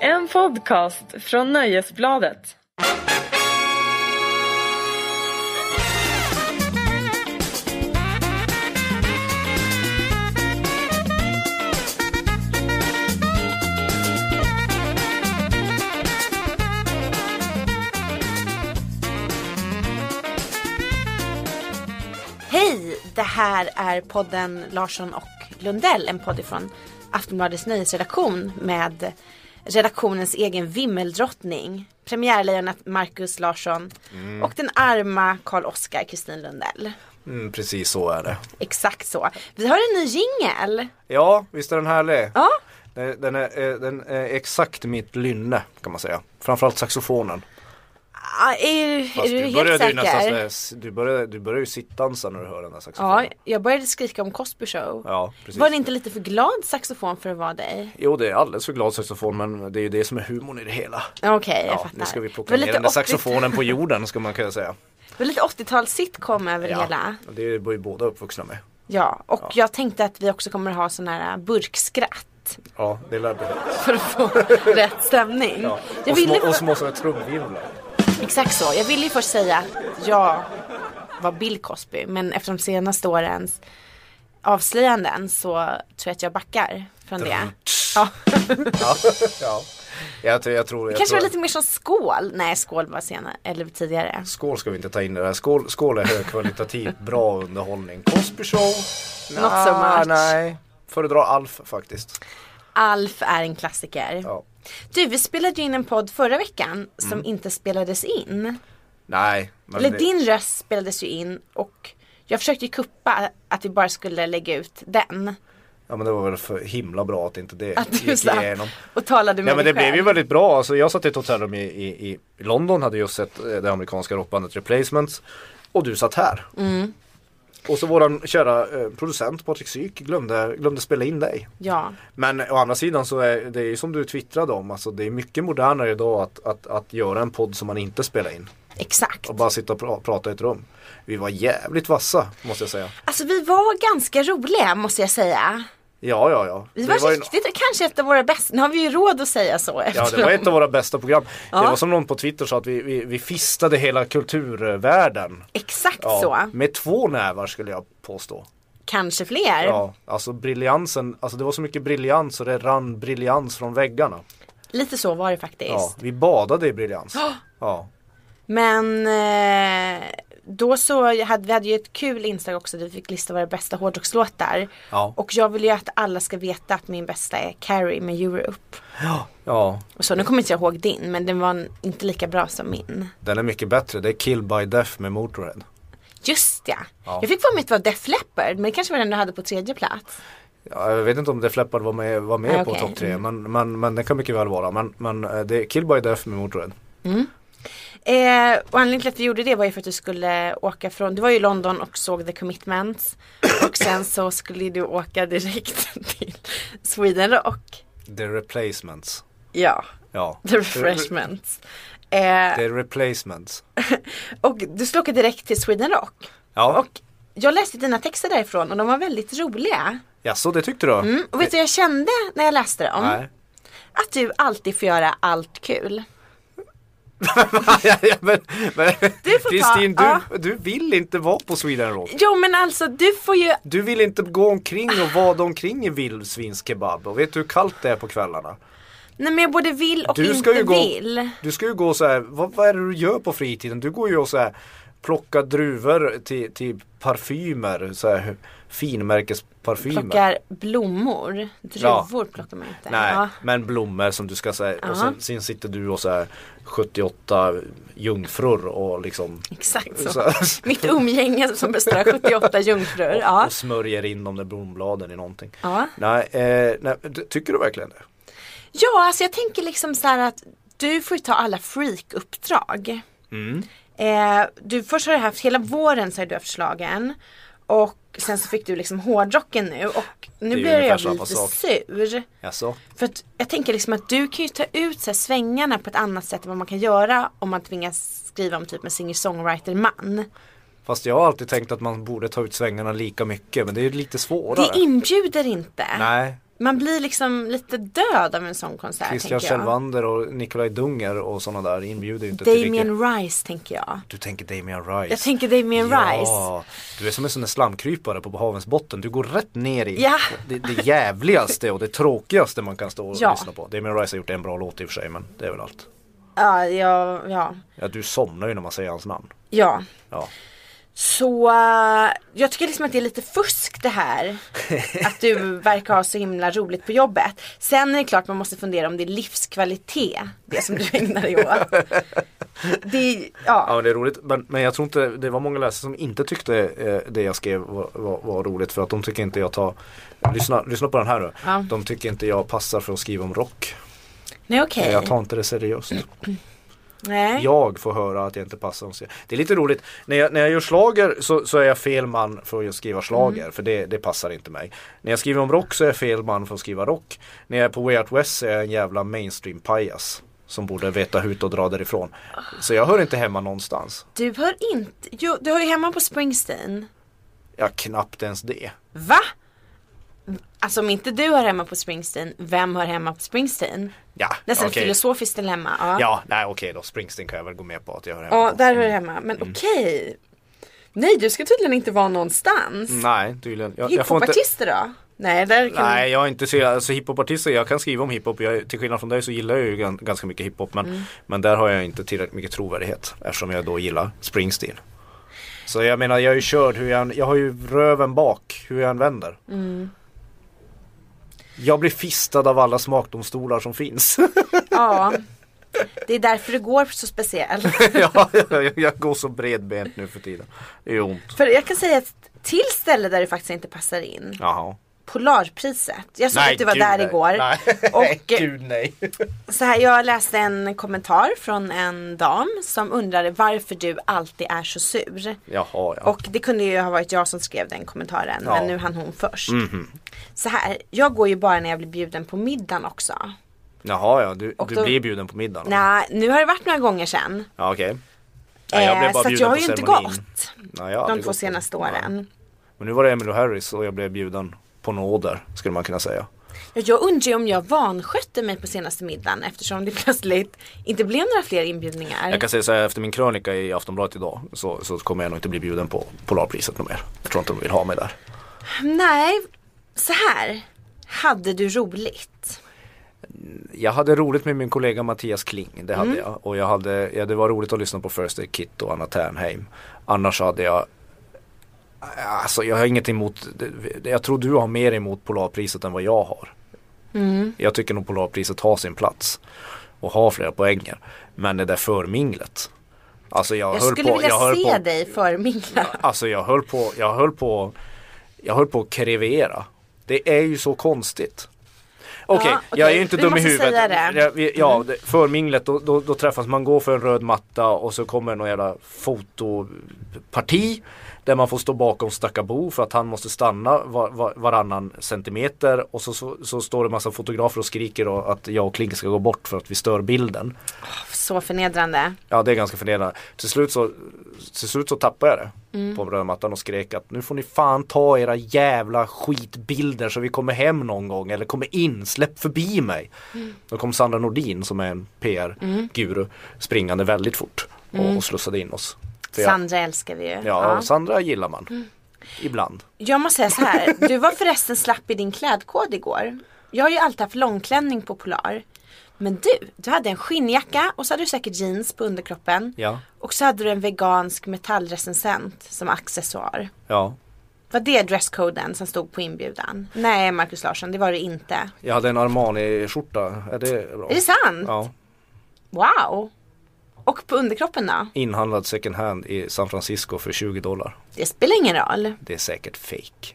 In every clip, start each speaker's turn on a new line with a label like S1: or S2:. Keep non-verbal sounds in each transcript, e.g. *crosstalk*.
S1: En podcast från Nöjesbladet.
S2: Hej! Det här är podden Larsson och Lundell, en podd från Aftonbladets nyhetsredaktion med redaktionens egen vimmeldrottning, premiärlejonet Marcus Larsson och den arma Karl-Oskar Kristin Lundell.
S3: Mm, precis så är det.
S2: Exakt så. Vi har en ny jingel.
S3: Ja, visst är den härlig?
S2: Ja,
S3: Den den är, eh, den är exakt mitt lynne kan man säga. Framförallt saxofonen.
S2: ah, är, är du helt
S3: började ju nästan
S2: säker?
S3: sådär s- du, började, du började ju sittdansa när du hör den där
S2: Ja,
S3: saxofonen.
S2: jag började skrika om Cosby Show.
S3: Ja, precis.
S2: Var det inte lite för glad saxofon för att vara dig?
S3: Jo, det är alldeles för glad saxofon men det är ju det som är humorn i det hela.
S2: Okej, jag
S3: Ja,
S2: fattar.
S3: nu ska vi
S2: Det
S3: plocka
S2: var
S3: ner
S2: lite
S3: den där
S2: 80
S3: saxofonen på jorden ska man kunna säga.
S2: Det var lite 80-tals sitcom över det
S3: Ja,
S2: hela.
S3: och det var ju båda uppvuxna med.
S2: Ja, och jag tänkte att vi också kommer ha sån här äh, burkskratt.
S3: Ja, det lär bli.
S2: För att
S3: *laughs*
S2: få rätt stämning.
S3: Ja.
S2: Jag
S3: Och små,
S2: ville
S3: och
S2: för...
S3: små sådana trumvirvlar. *laughs*
S2: Exakt så. Jag ville ju först säga att jag var Bill Cosby. Men efter de senaste årens avslöjanden så tror jag att jag backar från det. Ja.
S3: Ja, ja. Jag, tror- jag tror... Jag
S2: Kanske
S3: tror...
S2: var lite mer som skål. Nej, skål var senare. Eller tidigare.
S3: Skål ska vi inte ta in i det här. Skål, skål är högkvalitativt *laughs* bra underhållning. Cosby show?
S2: Not so much.
S3: Nej, föredrar Alf faktiskt.
S2: Alf är en klassiker.
S3: Ja. Mm.
S2: Du, vi spelade ju in en podd förra veckan som inte spelades in.
S3: Nej. men
S2: Eller
S3: det-
S2: din röst spelades ju in och jag försökte ju kuppa att vi bara skulle lägga ut den.
S3: Ja men det var väl för himla bra att inte det
S2: Att du
S3: gick
S2: satt
S3: igenom.
S2: och talade med
S3: Nej men
S2: dig
S3: det blev ju
S2: själv.
S3: väldigt bra. Alltså, jag satt i ett hotellrum i, i, i London, hade just sett eh, det amerikanska rockbandet Replacements. Och du satt här.
S2: Mm.
S3: Och så våran kära eh, producent Patrik Syk glömde, glömde spela in dig.
S2: Ja,
S3: Men å andra sidan så är det är ju som du twittrade om, alltså det är mycket modernare idag att, att, att göra en podd som man inte spelar in
S2: exakt.
S3: och bara sitta och pra, prata i ett rum. Vi var jävligt vassa måste jag säga.
S2: Alltså vi var ganska roliga måste jag säga.
S3: Ja, ja, ja.
S2: Vi
S3: Det
S2: var,
S3: ju-
S2: riktigt, kanske ett av våra bästa, nu har vi ju råd att säga så
S3: Ja,
S2: efteråt.
S3: det var ett av våra bästa program.
S2: Ja.
S3: Det var som någon på Twitter sa att vi, vi, vi fistade hela kulturvärlden.
S2: Exakt
S3: Ja,
S2: så,
S3: Med två nävar skulle jag påstå.
S2: kanske fler.
S3: Ja, alltså briljansen, alltså det var så mycket briljans så det rann briljans från väggarna.
S2: Lite så var det faktiskt.
S3: Ja, vi badade
S2: *gasps*
S3: i briljans. Ja.
S2: Men eh, då så hade vi hade ju ett kul inslag också där vi fick lista våra bästa hårdrockslåtar.
S3: Ja.
S2: Och jag vill ju att alla ska veta att min bästa är Carrie med Europe.
S3: ja,
S2: Och så nu kommer inte jag ihåg din men den var n- inte lika bra som min.
S3: Den är mycket bättre, det är Kill by Death med Motörhead.
S2: Just ja.
S3: Ja.
S2: Jag fick för mig att det var Def Leppard men det kanske var den du hade på tredje plats.
S3: Ja, jag vet inte om Def Leppard var med, var med
S2: Nej,
S3: på
S2: okej. Mm.
S3: topp tre, men, men, men det kan mycket väl vara. Men, men eh, det är Kill by Death med Motörhead.
S2: Eh, och anledningen till att vi gjorde det var ju för att du skulle åka från, du var ju i London och såg The Commitments. Och sen så skulle du åka direkt *laughs* till Sweden Rock.
S3: The Replacements.
S2: Ja,
S3: Ja.
S2: *laughs* The Refreshments. Eh,
S3: The Replacements.
S2: och du skulle åka direkt till Sweden Rock.
S3: Ja,
S2: Och jag läste dina texter därifrån och de var väldigt roliga.
S3: ja så det tyckte du?
S2: Mm, och vet du vad jag kände när jag läste dem?
S3: Nej. *laughs*
S2: Att du alltid får göra allt kul.
S3: ja, ja, men, men
S2: Du får ta-
S3: Kristin, du,
S2: ja.
S3: du vill inte vara på Sweden Rock.
S2: Jo men alltså du får ju,
S3: Du vill inte gå omkring och vada omkring i vildsvinskebab. Och vet du hur kallt det är på kvällarna?
S2: nej men jag både vill och
S3: Du
S2: inte
S3: ska ju gå,
S2: vill.
S3: du ska ju gå så här, vad, vad är det du gör på fritiden? Du går ju och så här plockar druvor till, till parfymer, så här finmärkesparfymer.
S2: Plockar blommor, druvor plockar man inte.
S3: Nej,
S2: Ja.
S3: men blommor som du ska säga och
S2: Ja.
S3: sen, sen sitter du och så här 78 jungfrur och liksom
S2: Exakt så.
S3: så här,
S2: Mitt umgänge som består av
S3: *laughs*
S2: 78 jungfrur. Ja.
S3: och smörjer in de där blombladen i någonting.
S2: Ja.
S3: Nej, eh, nej, ty- tycker du verkligen det?
S2: Ja, alltså jag tänker liksom så här att du får ju ta alla freak-uppdrag. Eh, du, först har du haft, hela våren så har du haft slagen Och sen så fick du liksom hårdrocken nu och nu
S3: ju
S2: blir jag
S3: ungefär
S2: lite
S3: samma sak.
S2: sur.
S3: Alltså,
S2: För att jag tänker liksom att du kan ju ta ut så här svängarna på ett annat sätt än vad man kan göra om man tvingas skriva om typ en singer-songwriter-man.
S3: fast jag har alltid tänkt att man borde ta ut svängarna lika mycket men det är ju lite svårare.
S2: Det inbjuder inte.
S3: Nej,
S2: Man blir liksom lite död av en sån konsert.
S3: Christian
S2: tänker jag.
S3: Kjellvander och Nikolaj Dunger och sådana där inbjuder ju inte till riktigt.
S2: Damien Rice tänker jag.
S3: Du tänker Damien Rice.
S2: Jag tänker Damien Rice.
S3: Ja, du är som en sån där slamkrypare på havens botten. Du går rätt ner i
S2: Ja.
S3: det, det jävligaste och det tråkigaste man kan stå och
S2: Ja.
S3: lyssna på. Damien Rice har gjort en bra låt i och för sig men det är väl allt.
S2: Ja, ja, ja.
S3: Ja, du somnar ju när man säger hans namn.
S2: ja.
S3: Ja.
S2: Så eh, jag tycker liksom att det är lite fusk det
S3: *laughs*
S2: här. Att du verkar ha så himla roligt på jobbet. Sen är det klart man måste fundera om det är livskvalitet. Det som du ägnar dig åt. Det är,
S3: Ja
S2: ja.
S3: men det är roligt men, men jag tror inte det var många läsare som inte tyckte eh, det jag skrev var, var, var roligt för att de tycker inte jag tar Lyssna, lyssna på den här nu
S2: Ja.
S3: De tycker inte jag passar för att skriva om rock
S2: Nej okej.
S3: Jag tar inte det seriöst
S2: Nej.
S3: Jag får höra att jag inte passar om seriöst Det är lite roligt När jag, när jag gör slager så, så är jag fel man för att just skriva slager
S2: Mm.
S3: för det, det passar inte mig När jag skriver om rock så är jag fel man för att skriva rock När jag är på Way Out West så är jag en jävla mainstream pajas Som borde veta hut och dra därifrån Så jag hör inte hemma någonstans
S2: Du hör inte, jo, du hör ju hemma på Springsteen.
S3: Ja knappt ens det
S2: Va? Alltså om inte du hör hemma på Springsteen, vem hör hemma på Springsteen?
S3: Ja,
S2: Nästan
S3: okej.
S2: filosofiskt dilemma. Ja.
S3: Ja, nej okej då. Springsteen kan jag väl gå med på att jag hör hemma
S2: Ja,
S3: på.
S2: där hör det hemma. Men
S3: Mm.
S2: okej. Nej, du ska tydligen inte vara någonstans.
S3: Nej, tydligen. Jag, jag får inte...
S2: Hiphopartister då? Nej, där kan
S3: Nej, jag är inte så, alltså hiphopartister, jag kan skriva om hiphop. Jag, till skillnad från dig så gillar jag ju gan- ganska mycket hiphop.
S2: Mm.
S3: Men, men där har jag inte tillräckligt mycket trovärdighet. Eftersom jag då gillar Springsteen. Så jag menar, jag är ju körd. Hur jag, än- jag har ju röven bak, hur jag än vänder.
S2: Mm.
S3: Jag blir fistad av alla smakdomstolar som finns. *laughs*
S2: Ja. Det är därför det går så speciellt.
S3: ja, jag, jag går så bredbent nu för tiden. Det gör ont.
S2: För jag kan säga ett till ställe där du faktiskt inte passar in.
S3: Jaha.
S2: Polarpriset. Jag såg att du var
S3: gud,
S2: där
S3: nej.
S2: igår.
S3: Nej,
S2: Och-
S3: *laughs* gud nej.
S2: Så här, jag läste en kommentar från en dam som undrade varför du alltid är så sur.
S3: Jaha, ja.
S2: Och det kunde ju ha varit jag som skrev den kommentaren
S3: Ja. Mhm.
S2: men nu hann hon först. Så här, jag går ju bara när jag blir bjuden på middagen också.
S3: Jaha, ja. Du,
S2: Och
S3: du
S2: då-
S3: blir bjuden på middagen?
S2: Nej, nu har det varit några gånger sen.
S3: Ja, okej. Ja, jag blev bara
S2: Eh, så att
S3: bjuden
S2: jag har
S3: på
S2: ju inte
S3: ceremonin.
S2: gått
S3: Nej, jag har
S2: de
S3: aldrig
S2: två
S3: gått på-
S2: senaste åren.
S3: Men nu var det Emily och Harris och jag blev bjuden på nåder, skulle man kunna säga.
S2: Ja, Jag undrar ju om jag vanskötte mig på senaste middagen eftersom det plötsligt inte blev några fler inbjudningar.
S3: Jag kan säga så här, efter min krönika i Aftonbladet idag så, så kommer jag nog inte bli bjuden på Polarpriset något mer. Jag tror inte de vill ha mig där.
S2: Nej, så här. Hade du roligt?
S3: Jag hade roligt med min kollega Mattias Kling, det
S2: Mm.
S3: hade jag. Och jag hade, ja, det var roligt att lyssna på First Aid Kit och Anna Ternheim. Annars hade jag Alltså jag har inget emot, det- jag tror du har mer emot Polarpriset än vad jag har.
S2: Mm.
S3: Jag tycker nog Polarpriset har sin plats och har flera poänger. Men det där förminglet. Alltså jag,
S2: Jag
S3: höll
S2: skulle
S3: på,
S2: vilja
S3: jag höll
S2: se
S3: på,
S2: dig förmingla.
S3: Alltså jag höll på, jag höll på, jag höll på att krevera. Det är ju så konstigt. Okej,
S2: Ja,
S3: jag är
S2: okej.
S3: ju inte
S2: Vi
S3: dum i
S2: måste
S3: huvudet.
S2: säga det. Mm.
S3: Ja, vi- Ja, det- förminglet, då, då, då träffas man, går för en röd matta och så kommer någon jävla fotoparti. Där man får stå bakom Stackabo för att han måste stanna var, var, varannan centimeter. Och så, så, så står det en massa fotografer och skriker och att jag och Kling ska gå bort för att vi stör bilden.
S2: Så förnedrande.
S3: Ja det är ganska förnedrande. Till slut så, till slut så tappade jag det
S2: Mm.
S3: på röda mattan och skrek att nu får ni fan ta era jävla skitbilder så vi kommer hem någon gång eller kommer in, släpp förbi mig.
S2: Mm.
S3: Då kom Sandra Nordin som är en PR-guru springande väldigt fort och, och slussade in oss. För jag,
S2: Mm. Sandra Mm. älskar vi ju.
S3: ja, Sandra gillar man. Ibland.
S2: Jag måste säga så här. Du var förresten slapp i din klädkod igår. Jag har ju alltid haft långklänning på Polar. Men du, du hade en skinnjacka och så hade du säkert jeans på underkroppen.
S3: Ja,
S2: Och så hade du en vegansk metallrecensent som accessoar.
S3: ja.
S2: Var det dresscoden som stod på inbjudan? Nej, Markus Larsson, det var det inte.
S3: Jag hade en Armani-skjorta, är det bra?
S2: Är det sant?
S3: Ja,
S2: Wow! Och på underkroppen då?
S3: inhandlad second hand i San Francisco för 20 dollar.
S2: Det spelar ingen roll.
S3: Det är säkert fake.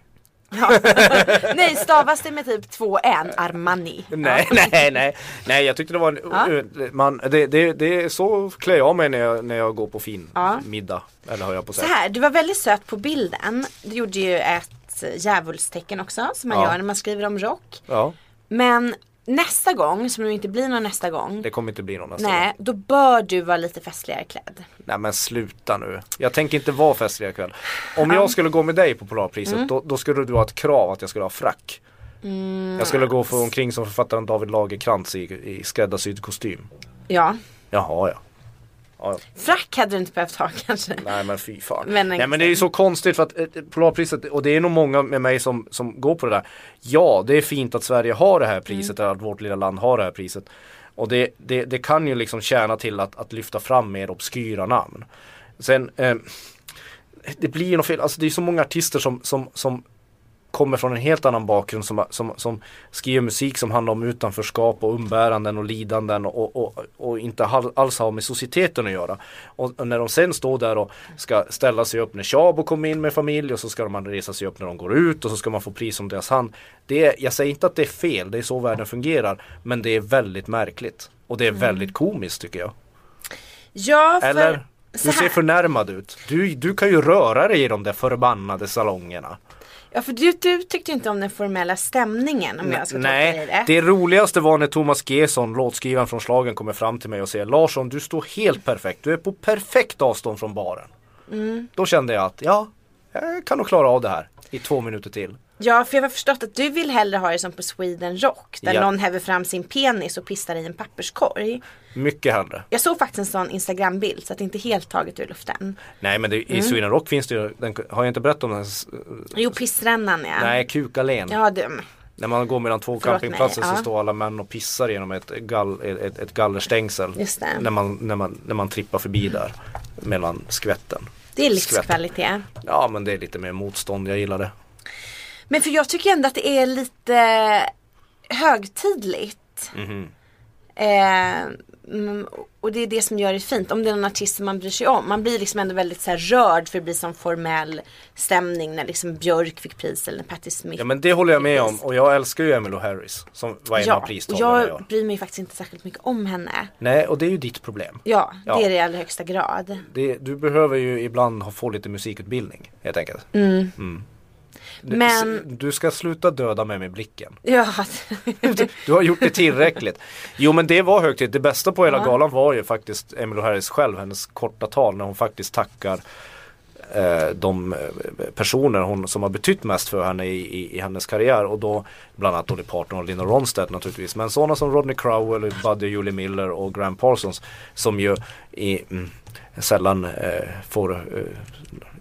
S2: Nej, stavas det med typ två N? Armani.
S3: *laughs* Nej, nej, nej. Nej, jag tyckte det var en... Man, det, det, det, så klär jag mig när jag, när jag går på fin
S2: Ja.
S3: middag. Eller har jag på
S2: Så
S3: sig.
S2: här, du var väldigt söt på bilden. Du gjorde ju ett djävulstecken också som man
S3: Ja.
S2: gör när man skriver om rock.
S3: Ja,
S2: Men nästa gång, som nu inte blir någon nästa gång.
S3: det kommer inte bli någon nästa
S2: Nej,
S3: gång.
S2: då bör du vara lite festligare klädd.
S3: Nej men sluta nu. Jag tänker inte vara
S2: Mm.
S3: festlig ikväll. Om jag skulle gå med dig på Polarpriset då, då skulle du ha ett krav att jag skulle ha frack.
S2: Mm.
S3: Jag skulle gå för omkring som författaren David Lagerkrantz i, i skräddarsydd kostym.
S2: Ja.
S3: Jaha ja. ja.
S2: Frack hade du inte behövt ha kanske.
S3: *laughs* Nej men fy fan.
S2: Men-
S3: Nej men det är ju så konstigt för att eh, Polarpriset, och det är nog många med mig som, som går på det där. Ja, det är fint att Sverige har det här priset, eller att vårt lilla land har det här priset. Och det, det, det kan ju liksom tjäna till att, att lyfta fram mer obskyra namn. Sen, eh, det blir ju något fel, alltså det är så många artister som, som, som kommer från en helt annan bakgrund som, som, som skriver musik som handlar om utanförskap och umbäranden och lidanden och, och, och inte hal- alls har med societeten att göra. Och och när de sen står där och ska ställa sig upp när Chabo kommer in med familj och så ska man resa sig upp när de går ut och så ska man få pris om deras hand. Det är, jag säger inte att det är fel, det är så världen fungerar, men det är väldigt märkligt. Och det är väldigt komiskt tycker jag.
S2: Ja, Mm. för...
S3: Eller?
S2: så
S3: Du ser
S2: här.
S3: förnärmad ut. Du, du kan ju röra dig i de där förbannade salongerna.
S2: Ja, för du, du tyckte inte om den formella stämningen om jag ska tolka dig
S3: Nej,
S2: rätt.
S3: det roligaste var när Thomas Gesson, låtskrivaren från slagen kommer fram till mig och säger Larsson, du står helt perfekt. Du är på perfekt avstånd från baren.
S2: Mm.
S3: Då kände jag att, ja, jag kan nog klara av det här i två minuter till.
S2: Ja, för jag har förstått att du vill hellre ha det som på Sweden Rock. Där
S3: Ja.
S2: någon häver fram sin penis och pissar i en papperskorg.
S3: Mycket hellre.
S2: Jag såg faktiskt en sån Instagram-bild så att det inte är helt taget ur luften.
S3: Nej men det,
S2: Mm.
S3: i Sweden Rock finns det ju, den, har jag inte berättat om den? s-
S2: Jo, pissrännan ja.
S3: Nej, Kukalén.
S2: Ah. Ja, du.
S3: När man går mellan två
S2: Förlåt
S3: campingplatser
S2: mig,
S3: så
S2: ja.
S3: står alla män och pissar genom ett, gall, ett, ett gallerstängsel.
S2: Just det.
S3: När, man, när, man, när man trippar förbi där. Mellan skvätten.
S2: Det är
S3: Skvätt.
S2: livskvalitet.
S3: Ja men det är lite mer motstånd, jag gillar det.
S2: Men för jag tycker ändå att det är lite högtidligt.
S3: Mhm.
S2: Eh, mm, och det är det som gör det fint. Om det är någon artist som man bryr sig om. Man blir liksom ändå väldigt så här rörd för det blir sån formell stämning när liksom Björk fick pris eller när Patti Smith
S3: Ja men det håller jag med om
S2: Precis.
S3: och jag älskar ju Emmylou Harris som var en av
S2: Ja, och
S3: pristagarna i
S2: jag
S3: år.
S2: bryr mig faktiskt inte särskilt mycket om henne.
S3: Nej och det är ju ditt problem.
S2: Ja,
S3: Ja.
S2: det är det i allra högsta grad. *laughs*
S3: Det, du behöver ju ibland ha- få lite musikutbildning helt enkelt. Mm. Du,
S2: Men-
S3: s- du ska sluta döda mig med blicken.
S2: Ja,
S3: Du har gjort det tillräckligt. Jo men det var högtid. Det bästa på hela
S2: Ja.
S3: galan var ju faktiskt Emmylou Harris själv, hennes korta tal när hon faktiskt tackar eh, de eh, personer hon, som har betytt mest för henne i, i, i hennes karriär och då bland annat Dolly Parton och Lina Ronstedt naturligtvis men sådana som Rodney Crowell, Buddy och Julie Miller och Graham Parsons som ju i, mm, sällan eh, får, eh,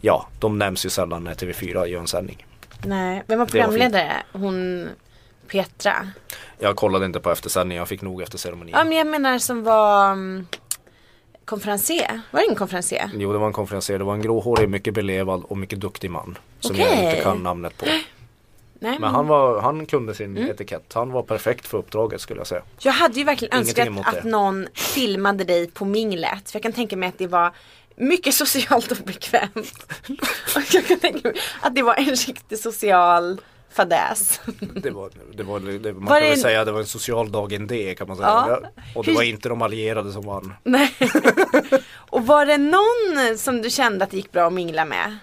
S3: ja de nämns ju sällan när TV4 gör en sändning.
S2: nej. Vem var
S3: Det var fint.
S2: programledare? Hon Petra.
S3: Jag kollade inte på eftersändningen, jag fick nog efter ceremonin.
S2: Ja, men jag menar som var mm, konferencier. Var det ingen konferencier?
S3: Jo det var en konferenser, det var en gråhårig, mycket belevad och mycket duktig man. Som jag
S2: Okej.
S3: inte kan namnet på.
S2: Nej.
S3: Men han, var, han kunde sin
S2: Mm.
S3: etikett, han var perfekt för uppdraget skulle jag säga.
S2: Jag hade ju verkligen
S3: Ingenting
S2: önskat
S3: emot
S2: att
S3: det.
S2: någon filmade dig på minglet. För jag kan tänka mig att det var mycket *laughs* socialt obekvämt.
S3: *laughs*
S2: Och jag kan tänka mig att det var en riktig social fadäs. *laughs*
S3: Det var, det var, det, man
S2: Var
S3: kan
S2: det-
S3: väl säga att det var en social dag en det kan man säga.
S2: Ja.
S3: Och det
S2: Hur-
S3: var inte de allierade som vann.
S2: Nej. Och var det någon som du kände att det gick bra att mingla med?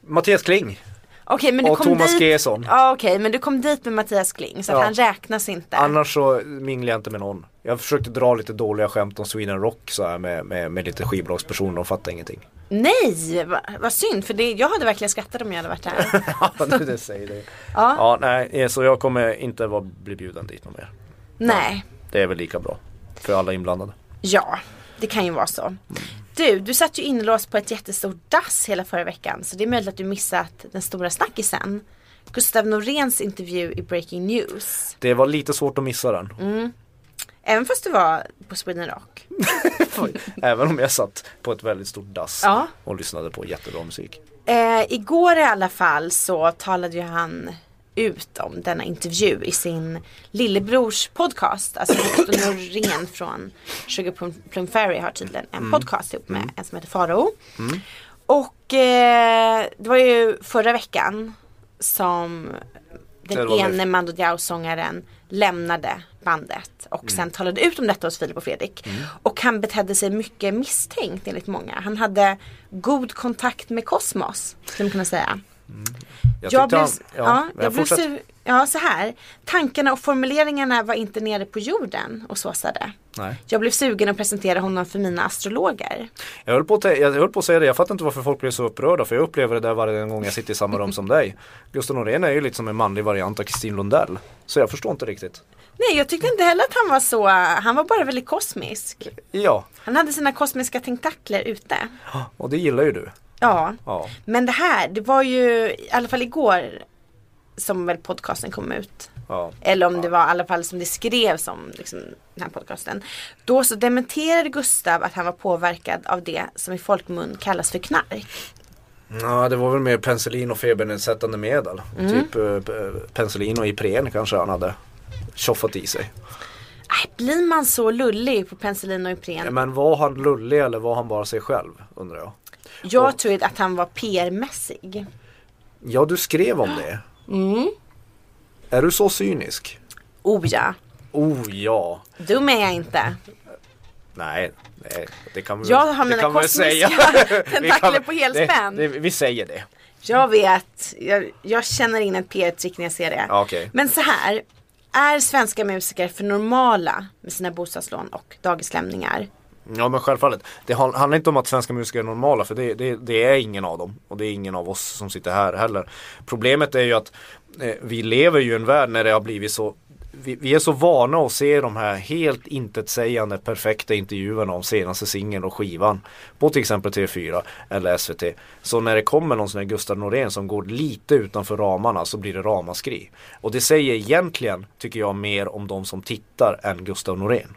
S3: Mattias Kling
S2: Okej men du
S3: och
S2: kom
S3: Thomas
S2: dit.
S3: Gesson.
S2: Ja okej men du kom dit med Mattias Kling så att
S3: Ja.
S2: han räknas inte.
S3: Annars så minglar jag inte med någon. Jag försökte dra lite dåliga skämt om Sweden Rock så här med, med, med lite skivbolagspersoner, de fattade ingenting. *laughs*
S2: Nej va- vad synd för det, jag hade verkligen skrattat om jag hade varit
S3: *laughs*
S2: där.
S3: ja, det det säger det.
S2: Ja,
S3: Ja, nej, så jag kommer inte vara, bli bjuden dit någon mer.
S2: nej.
S3: Det är väl lika bra för alla inblandade.
S2: Ja, det kan ju vara så. Du, du satt ju inlåst på ett jättestort dass hela förra veckan så det är möjligt att du missat den stora snackisen. Gustav Noréns intervju i Breaking News.
S3: Det var lite svårt att missa den.
S2: Mm. Även fast du var på Sweden Rock.
S3: Även om jag satt på ett väldigt stort dass
S2: Ja.
S3: och lyssnade på jättebra musik.
S2: Eh, igår i alla fall så talade ju han ut om denna intervju i sin lillebrors podcast. Alltså Gustav Norén från Sugar Plum, Plum Fairy har tydligen en podcast ihop med en som heter Farao. Och eh, det var ju förra veckan som
S3: Det
S2: den
S3: var
S2: ene Mando Diao-sångaren lämnade bandet
S3: Mm.
S2: och sen talade ut om detta hos Filip och Fredrik. Och han betedde sig mycket misstänkt enligt många. Han hade god kontakt med kosmos, skulle man kunna säga.
S3: Jag
S2: Jag
S3: tyckte
S2: blev,
S3: han,
S2: ja,
S3: ja,
S2: jag blev
S3: fortsätt.
S2: sur, ja, så här. Tankarna och formuleringarna var inte nere på jorden och såsade.
S3: Nej.
S2: Jag blev sugen att presentera honom för mina astrologer.
S3: Jag höll, på att, tä- jag höll på att säga det, jag fattar inte varför folk blir så upprörda för jag upplever det där varje gång jag sitter i samma
S2: *laughs*
S3: rum som dig. Gustav Norén är ju lite som en manlig variant av Kristin Lundell. Så jag förstår inte riktigt.
S2: Nej, jag tyckte inte heller att han var så, han var bara väldigt kosmisk.
S3: Ja,
S2: Han hade sina kosmiska tentakler ute.
S3: och det gillar ju du.
S2: Ja,
S3: Ja,
S2: men det här, det var ju i alla fall igår som väl podcasten kom ut.
S3: ja.
S2: Eller om det var i alla fall som det skrevs om liksom, den här podcasten. Då så dementerade Gustav att han var påverkad av det som i folkmun kallas för knark.
S3: ja det var väl mer penicillin och febernedsättande medel.
S2: Mm.
S3: Typ eh, p- penicillin och Ipren kanske han hade tjoffat i sig.
S2: Äh, blir man så lullig på penicillin och Ipren?
S3: Men var han lullig eller var han bara sig själv undrar jag.
S2: Jag tror att han var PR-mässig.
S3: Ja, du skrev om det.
S2: Mm.
S3: Är du så cynisk?
S2: Oh ja,
S3: Oh ja.
S2: dum är jag inte.
S3: Nej, nej det kan vi
S2: Jag har
S3: det
S2: mina
S3: kan vi väl
S2: kosmiska
S3: Vi kan-
S2: *laughs* tentakler på helspänn.
S3: Det, det, vi säger det.
S2: Jag vet, jag, jag känner in ett PR-trick när jag ser det.
S3: Ja, Ah, okej.
S2: Men så här, är svenska musiker för normala med sina bostadslån och dagislämningar?
S3: Ja men självfallet. Det han- handlar inte om att svenska musiker är normala för det, det, det är ingen av dem. Och det är ingen av oss som sitter här heller. Problemet är ju att eh, vi lever ju i en värld när det har blivit så vi, vi är så vana att se de här helt intetsägande perfekta intervjuerna om senaste singeln och skivan på till exempel TV4 eller SVT. Så när det kommer någon sån här Gustav Norén som går lite utanför ramarna så blir det ramaskri. Och det säger egentligen, tycker jag, mer om de som tittar än Gustav Norén.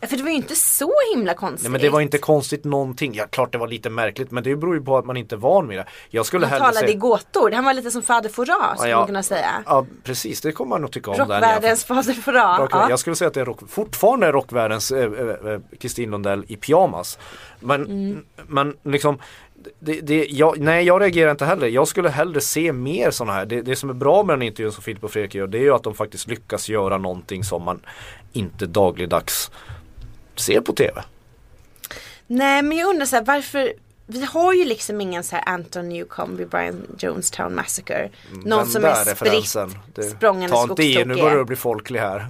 S2: Ja, för det var ju inte så himla konstigt.
S3: Nej men det var inte konstigt någonting. Ja klart det var lite märkligt men det beror ju på att man inte är van vid det. Jag skulle
S2: Han
S3: hellre
S2: talade i
S3: säga...
S2: gåtor, han var lite som fader Fouras skulle
S3: Ja,
S2: man kunna säga.
S3: Ja precis det kommer man nog tycka om. där i alla fall.
S2: Rockvärldens fader Fouras.
S3: Rock,
S2: Ja.
S3: Jag skulle säga att det är rock, fortfarande är rockvärldens eh, eh, eh, Kristin Lundell i pyjamas. Men,
S2: Mm.
S3: men liksom det, det, jag, nej jag reagerar inte heller. Jag skulle hellre se mer sådana här. Det, det som är bra med den intervjun som Filip och Fredrik gör det är ju att de faktiskt lyckas göra någonting som man inte dagligdags ser på TV.
S2: Nej men jag undrar så här, varför vi har ju liksom ingen så här Anton Newcomb vid Brian Jonestown Massacre. Någon
S3: Den
S2: som
S3: Mm. där
S2: är spritt
S3: referensen. Det-
S2: språngande
S3: Ta inte i, nu
S2: skogstokig.
S3: börjar det bli folklig här.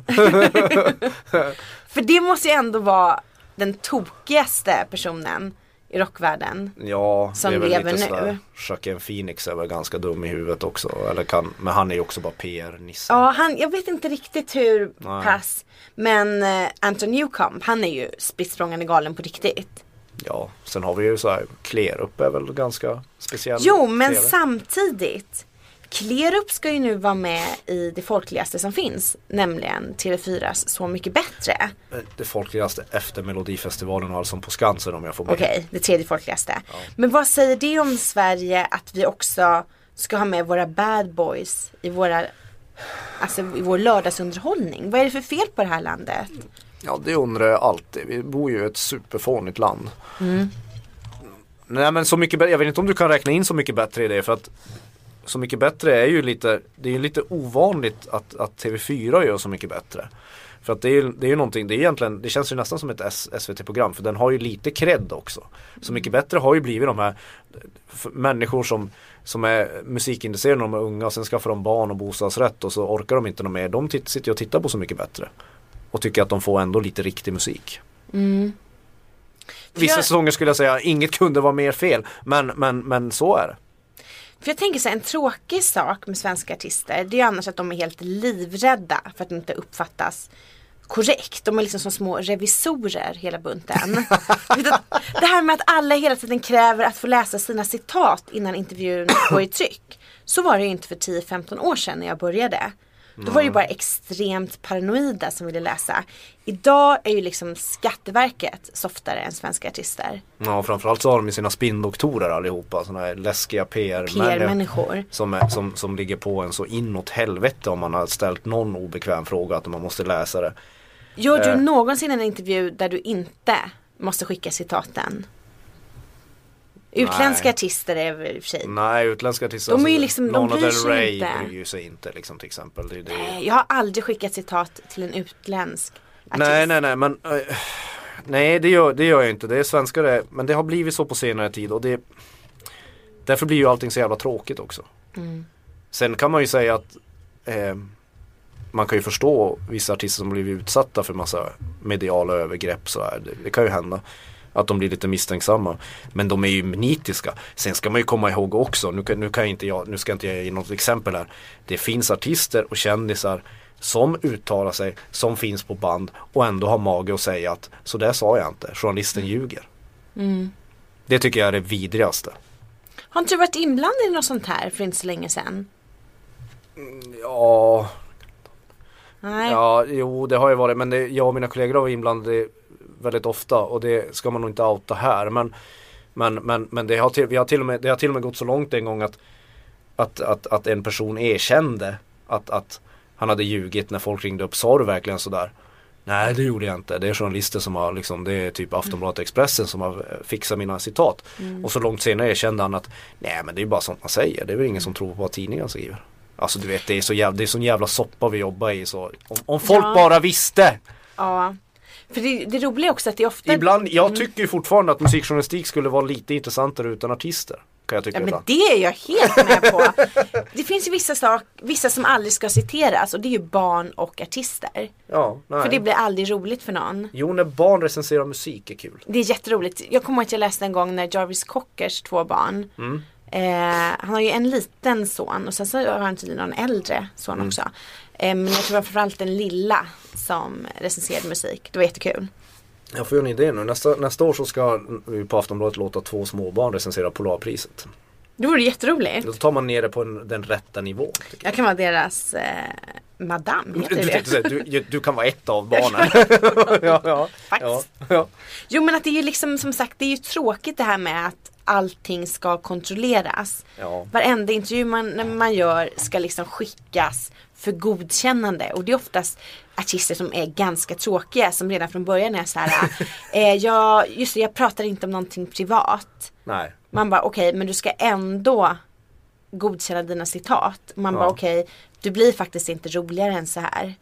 S2: För det måste ju ändå vara den tokigaste personen i rockvärlden.
S3: Ja,
S2: *laughs* Som
S3: det är väl
S2: lever
S3: lite
S2: nu.
S3: sådär. Joaquin Phoenix är väl ganska dum i huvudet också. Eller kan, men han är ju också bara PR-nissen.
S2: Ja, han, jag vet inte riktigt hur
S3: Nej.
S2: pass. Men eh, Anton Newcomb, han är ju spritt språngande galen på riktigt.
S3: Ja, sen har vi ju så här Klerup är väl ganska speciell.
S2: Jo, men
S3: TV.
S2: samtidigt. Klerup ska ju nu vara med i det folkligaste som finns, nämligen TV4s Så mycket bättre.
S3: Eh, Det folkligaste efter Melodifestivalen och Allsång på Skansen om jag får med.
S2: Okej, det tredje folkligaste. Men vad säger det om Sverige att vi också ska ha med våra bad boys i våra Alltså i vår lördagsunderhållning. Vad är det för fel på det här landet?
S3: Ja, det undrar jag alltid. Vi bor ju i ett superfånigt land.
S2: Mm.
S3: Nej men så mycket bättre, jag vet inte om du kan räkna in så mycket bättre i det för att Så mycket bättre är ju lite, det är ju lite ovanligt att, att TV4 gör så mycket bättre. För att det är ju det är ju någonting, det är egentligen, det känns ju nästan som ett S- SVT-program för den har ju lite cred också. Så mycket bättre har ju blivit de här f- människor som, som är musikintresserade när de är unga och sen skaffar de barn och bostadsrätt och så orkar de inte något mer. De titt, sitter ju och tittar på Så mycket bättre. Och tycker att de får ändå lite riktig musik. Vissa
S2: Jag-
S3: säsonger skulle jag säga, inget kunde vara mer fel. Men, men, men så är det.
S2: För jag tänker så här, en tråkig sak med svenska artister det är ju annars att de är helt livrädda för att de inte uppfattas korrekt. De är liksom som små revisorer hela bunten. Du vet att det här med att alla hela tiden kräver att få läsa sina citat innan intervjun går i tryck. Så var det ju inte för 10-15 år sedan när jag började. Då var det ju bara extremt paranoida som ville läsa. Idag är ju liksom Skatteverket softare än svenska artister.
S3: Ja, framförallt så har de ju sina spindoktorer allihopa. Sådana här läskiga PR-människor.
S2: PR-människor.
S3: Som, är, som, som ligger på en så inåt helvete om man har ställt någon obekväm fråga att man måste läsa det.
S2: Gör du
S3: Eh.
S2: någonsin en intervju där du inte måste skicka citaten? Utländska
S3: Nej.
S2: artister är väl i och för sig.
S3: Nej, utländska artister. alltså,
S2: De är ju liksom- de
S3: Lana
S2: bryr
S3: Del
S2: sig
S3: Rey
S2: inte.
S3: bryr ju sig inte liksom till exempel. Det, det,
S2: Nej, Jag har aldrig skickat citat till en utländsk artist.
S3: Nej, nej, nej, men eh, Nej, det gör, det gör jag inte. Det är svenskar det, men det har
S2: Mm.
S3: blivit så på senare tid och det Därför blir ju allting så jävla tråkigt också. Sen kan man ju säga att eh, man kan ju förstå vissa artister som blivit utsatta för massa mediala övergrepp så här. Det, det kan ju hända. Att de blir lite misstänksamma. Men de är ju nitiska. Sen ska man ju komma ihåg också, nu kan, nu kan inte jag, nu ska inte jag ge något exempel här. Det finns artister och kändisar som uttalar sig, som finns på band och ändå har mage att säga att så där sa jag inte, journalisten ljuger. Det tycker jag är det vidrigaste.
S2: Har inte du varit inblandad i något sånt här för inte så länge sedan?
S3: Ja,
S2: Nej.
S3: Ja, jo det har ju varit men det, jag och mina kollegor har varit inblandade väldigt ofta och det ska man nog inte outa här. Men, men, men, men det, har till, vi har till och med, det har till och med gått så långt en gång att, att, att, att en person erkände att, att han hade ljugit när folk ringde upp. Sa du verkligen sådär? Nej det gjorde jag inte. Det är journalister som har liksom, det är typ Aftonbladet och Expressen som har eh, fixat mina citat.
S2: Mm.
S3: Och så långt senare erkände han att nej men det är ju bara sånt man säger. Det är väl ingen som tror på vad tidningen skriver. Alltså du vet det är så jävla, det är sån jävla soppa vi jobbar i så om, om folk
S2: Ja.
S3: bara visste!
S2: Ja. För det, det roliga är också att det är ofta...
S3: Ibland,
S2: Mm.
S3: jag tycker ju fortfarande att musikjournalistik skulle vara lite intressantare utan artister. Kan jag tycka
S2: Ja, men
S3: ibland.
S2: det är jag helt med
S3: *laughs*
S2: på. Det finns ju vissa, sak, vissa som aldrig ska citeras och det är ju barn och artister.
S3: Ja, nej.
S2: För det blir aldrig roligt för någon.
S3: Jo när barn recenserar musik är kul.
S2: Det är jätteroligt. Jag kommer ihåg att jag läste en gång när Jarvis Cockers två barn. Eh, han har ju en liten son och sen så har han tydligen någon äldre son också. Eh, men jag tror det var framförallt den lilla som recenserade musik. Det var jättekul.
S3: Jag får ju en idé nu, nästa, nästa år så ska vi på Aftonbladet låta två småbarn recensera Polarpriset.
S2: Det vore jätteroligt.
S3: Då tar man ner det på en, den rätta nivån. tycker
S2: Jag kan vara deras eh, madam,
S3: jag.
S2: heter
S3: Du,
S2: det
S3: tänkte säga, du, du kan vara ett av barnen.
S2: *laughs*
S3: ja, ja, ja,
S2: Faktiskt.
S3: ja.
S2: Jo men att det är ju liksom som sagt det är ju tråkigt det här med att allting ska kontrolleras.
S3: Ja.
S2: Varenda intervju man, man gör ska liksom skickas för godkännande och det är oftast artister som är ganska tråkiga som redan från början är så här. *laughs* eh, jag, just det, jag pratar inte om någonting privat.
S3: Nej.
S2: Man bara okej men du ska ändå godkänna dina citat. Man bara
S3: Ja.
S2: okej du blir faktiskt inte roligare än så här.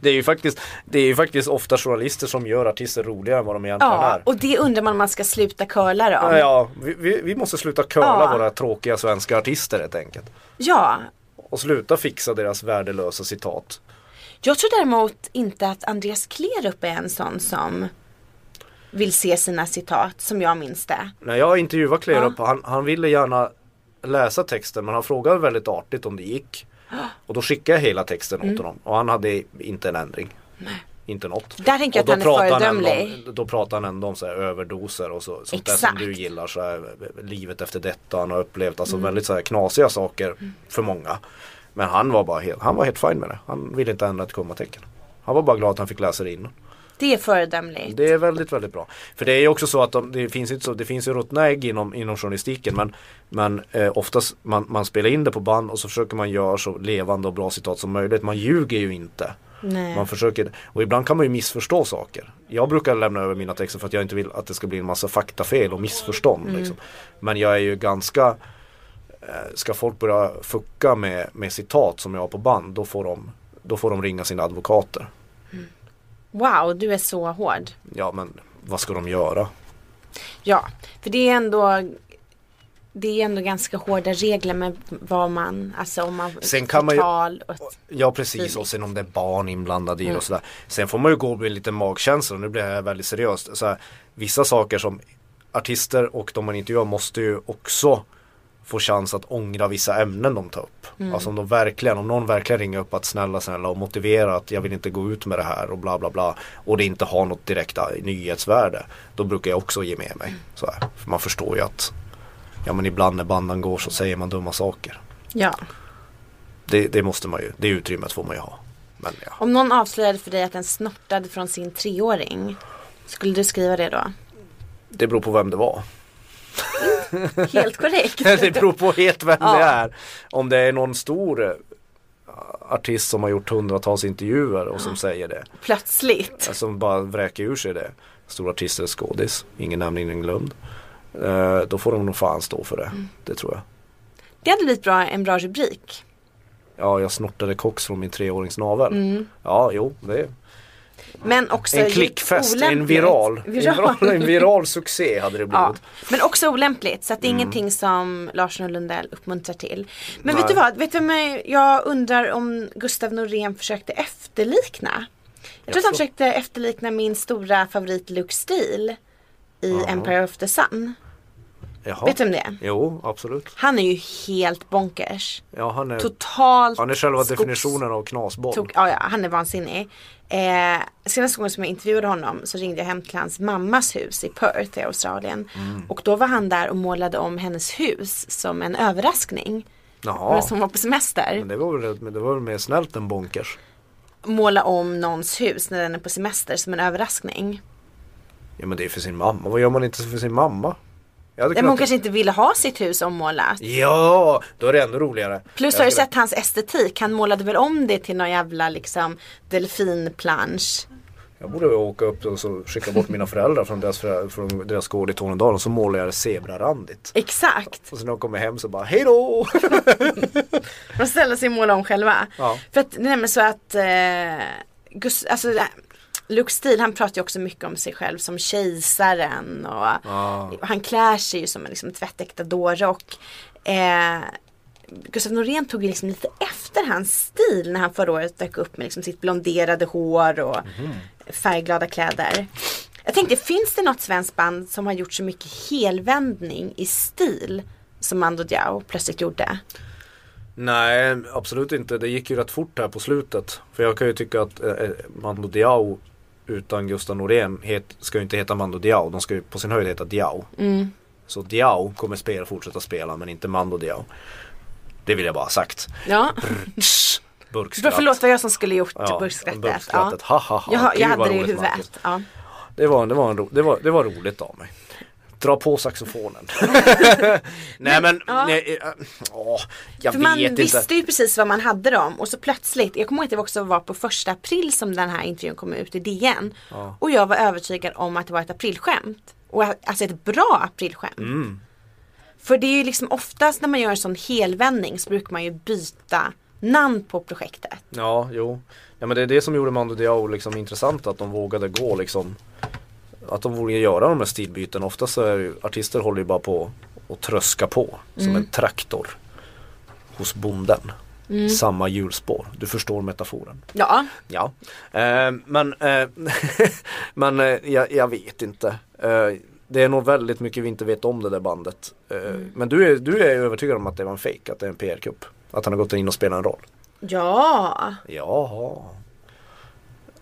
S3: Det är ju faktiskt, det är ju faktiskt ofta journalister som gör artister roligare än vad de egentligen
S2: Ja
S3: är.
S2: och det undrar man om man ska sluta curla dem.
S3: Ja, ja, vi, vi, vi måste sluta curla
S2: Ja.
S3: våra tråkiga svenska artister helt enkelt.
S2: ja
S3: Och sluta fixa deras värdelösa citat.
S2: Jag tror däremot inte att Andreas Klerup är en sån som vill se sina citat som jag minns det.
S3: När jag intervjuade Klerup, han, han ville gärna läsa texten men han frågade väldigt artigt om det gick. Och då skickade jag hela texten
S2: Mm.
S3: åt honom och han hade inte en ändring. Inte något.
S2: Där tänker jag
S3: Och då
S2: att han är
S3: pratar ändå
S2: föredömlig.
S3: om, Då pratar han ändå om så här överdoser och så, sånt där som
S2: Exakt. Mm.
S3: du gillar. Så här, livet efter detta han har upplevt. Alltså väldigt så här knasiga saker för många. Men han var bara helt, han var helt fin med det. Han ville inte ändra ett kommatecken. Han var bara glad att han fick läsa det innan.
S2: Det är föredömligt.
S3: Det är väldigt, väldigt bra. För det är ju också så att de, det finns ju inte så, det finns ju ruttna ägg inom, inom journalistiken men, men eh, oftast man, man spelar in det på band och så försöker man göra så levande och bra citat som möjligt. Man ljuger ju inte.
S2: Nej.
S3: Man försöker, och ibland kan man ju missförstå saker. Jag brukar lämna över mina texter för att jag inte vill att det ska bli en massa faktafel och missförstånd. Liksom. Men jag är ju ganska eh, Ska folk börja fucka med, med citat som jag har på band då får de, då får de ringa sina advokater.
S2: Wow, du är så hård.
S3: Ja men vad ska de göra?
S2: Ja, för det är ändå det är ändå ganska hårda regler med vad man, alltså om man
S3: Sen kan man ju-
S2: förtal och
S3: Ja precis och sen om det är barn inblandade i det och sådär. Sen får man ju gå med lite magkänsla, nu blir jag väldigt seriöst. Så här, vissa saker som artister och de man intervjuar måste ju också få chans att ångra vissa ämnen de tar upp. Alltså om de verkligen, om någon verkligen ringer upp att snälla snälla och motivera att jag vill inte gå ut med det här och bla bla bla och det inte har något direkt eh, nyhetsvärde. Då brukar jag också ge med mig. Så här. För man förstår ju att ja men ibland när bandan går så säger man dumma saker.
S2: ja.
S3: Det, det måste man ju, det utrymmet får man ju ha. Men ja.
S2: Om någon avslöjade för dig att den snortade från sin treåring, skulle du skriva det då?
S3: Det beror på vem det var. *laughs*
S2: Helt korrekt.
S3: det beror på helt vem
S2: Ja.
S3: det är. Om det är någon stor eh, artist som har gjort hundratals intervjuer och som säger det.
S2: Plötsligt.
S3: Som bara vräker ur sig det. Stora artister, skådis, ingen nämnd, ingen glömd. Eh, Då får de nog fan stå för det.
S2: Mm.
S3: Det tror jag.
S2: Det hade blivit bra, en bra rubrik. Mm.
S3: Ja, jag snortade koks från min treårings navel. Ja, jo, det
S2: Men också
S3: En
S2: djupt
S3: klickfest, en
S2: olämpligt.
S3: viral.
S2: *laughs*
S3: En, viral, en viral succé hade det
S2: Ja,
S3: blivit.
S2: men också olämpligt så att det är
S3: Mm.
S2: ingenting som Larsson och Lundell uppmuntrar till. Men vet
S3: Nej.
S2: du vad, vet du vad jag undrar om Gustav Norén försökte efterlikna. Jag tror att han
S3: Jaså?
S2: försökte efterlikna min stora favorit Luke Steele i
S3: Jaha.
S2: Empire of the Sun.
S3: Jaha.
S2: Vet du vem det är?
S3: Jo, absolut.
S2: Han är ju helt bonkers.
S3: Ja, han är,
S2: Totalt
S3: han är själva
S2: skogs-
S3: definitionen av knasboll.
S2: Tok, ja, ja, han är vansinnig. Eh, senaste gången som jag intervjuade honom så ringde jag hem till hans mammas hus i Perth i Australien.
S3: Mm.
S2: Och då var han där och målade om hennes hus som en överraskning.
S3: Jaha.
S2: Ja. Som var på
S3: Men
S2: semester.
S3: det var väl, men det var väl mer snällt än bonkers.
S2: Måla om någons hus när den är på semester som en överraskning.
S3: Ja men det är för sin mamma. Vad gör man inte för sin mamma? Jag hade
S2: Men hon
S3: kunnat...
S2: kanske inte ville ha sitt hus ommålat.
S3: Ja, då är det ännu roligare.
S2: Plus
S3: Jag
S2: har du
S3: skulle-
S2: sett hans estetik. Han målade väl om det till någon jävla liksom delfinplansch.
S3: Jag borde åka upp och så skicka bort mina föräldrar från deras, förä- från deras gård i Tornedalen och så målar jag det zebrarandigt.
S2: Exakt.
S3: Och sen när de kommer hem så bara hejdå!
S2: De ställer sig och målar om själva.
S3: Ja.
S2: För att det är nämligen så att eh, Gus, alltså, eh, Luke Steele han pratar ju också mycket om sig själv som kejsaren och
S3: Ja.
S2: och han klär sig ju som en liksom, tvättäkta dåre och eh, Gustav Norén tog ju liksom lite efter hans stil när han förra året dök upp med liksom sitt blonderade hår och färgglada kläder. Jag tänkte, finns det något svenskt band som har gjort så mycket helvändning i stil som Mando Diao plötsligt gjorde?
S3: Nej, absolut inte. Det gick ju rätt fort här på slutet. För jag kan ju tycka att eh, eh, Mando Diao utan Gustav Norén het, ska ju inte heta Mando Diao. De ska ju på sin höjd heta Diao.
S2: Mm.
S3: Så Diao kommer spela, fortsätta spela men inte Mando Diao. Det vill jag bara ha sagt.
S2: Ja,
S3: Tss,
S2: För,
S3: Burkskratt.
S2: förlåt vad jag som skulle gjort
S3: Ja,
S2: burkskrattet. Ja.
S3: burkskrattet. Ha, ha, ha.
S2: Jag, har-
S3: Gud,
S2: jag
S3: vad
S2: hade det i
S3: roligt, Marcus.
S2: huvudet. Ja.
S3: Det var, det, var en ro, det, var, det var roligt av mig. Dra
S2: *laughs*
S3: på saxofonen. nej men,
S2: ja.
S3: nej, eh, åh, jag
S2: För
S3: vet
S2: man
S3: inte.
S2: visste ju precis vad man hade dem och så plötsligt, jag kommer ihåg att det också var på första april som den här intervjun kom ut i DN. Och jag var övertygad om att det var ett aprilskämt. Och att- alltså ett bra aprilskämt.
S3: Mm.
S2: För det är ju liksom oftast när man gör en sån helvändning så brukar man ju byta namn på projektet.
S3: Ja, jo. Ja men det är det som gjorde Mando Diao liksom intressant att de vågade gå liksom. Att de vågade göra de här stilbyten. Ofta så är det ju, artister håller ju bara på och tröska på som en traktor hos bonden. Samma hjulspår. Du förstår metaforen.
S2: Ja,
S3: Ja, eh, men, eh, *laughs* men eh, jag, jag vet inte. Eh, det är nog väldigt mycket vi inte vet om det där bandet. Eh, Men du är, du är övertygad om att det var en fake, att det är en PR-kupp? Att han har gått in och spelat en roll?
S2: ja,
S3: Jaha.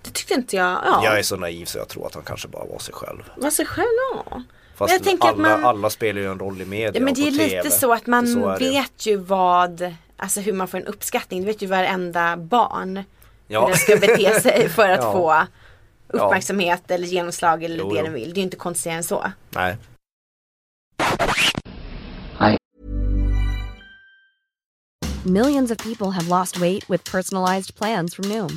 S2: det tyckte inte jag. Ja,
S3: Jag är så naiv så jag tror att han kanske bara var sig själv.
S2: vad sig själv ja.
S3: Fast
S2: jag tänker att
S3: alla,
S2: man-
S3: alla spelar ju en roll i media
S2: Ja men
S3: och
S2: det är
S3: på TV.
S2: lite så att man
S3: Så är det ju.
S2: vet ju vad, alltså hur man får en uppskattning. Det vet ju varenda barn hur
S3: Ja.
S2: den ska bete
S3: *laughs*
S2: sig för att
S3: Ja.
S2: få uppmärksamhet eller genomslag eller
S3: Jo,
S2: det
S3: jo.
S2: den vill. Det är ju inte konstigare än så.
S3: Nej.
S4: Millions of people have lost weight with personalized plans from Noom,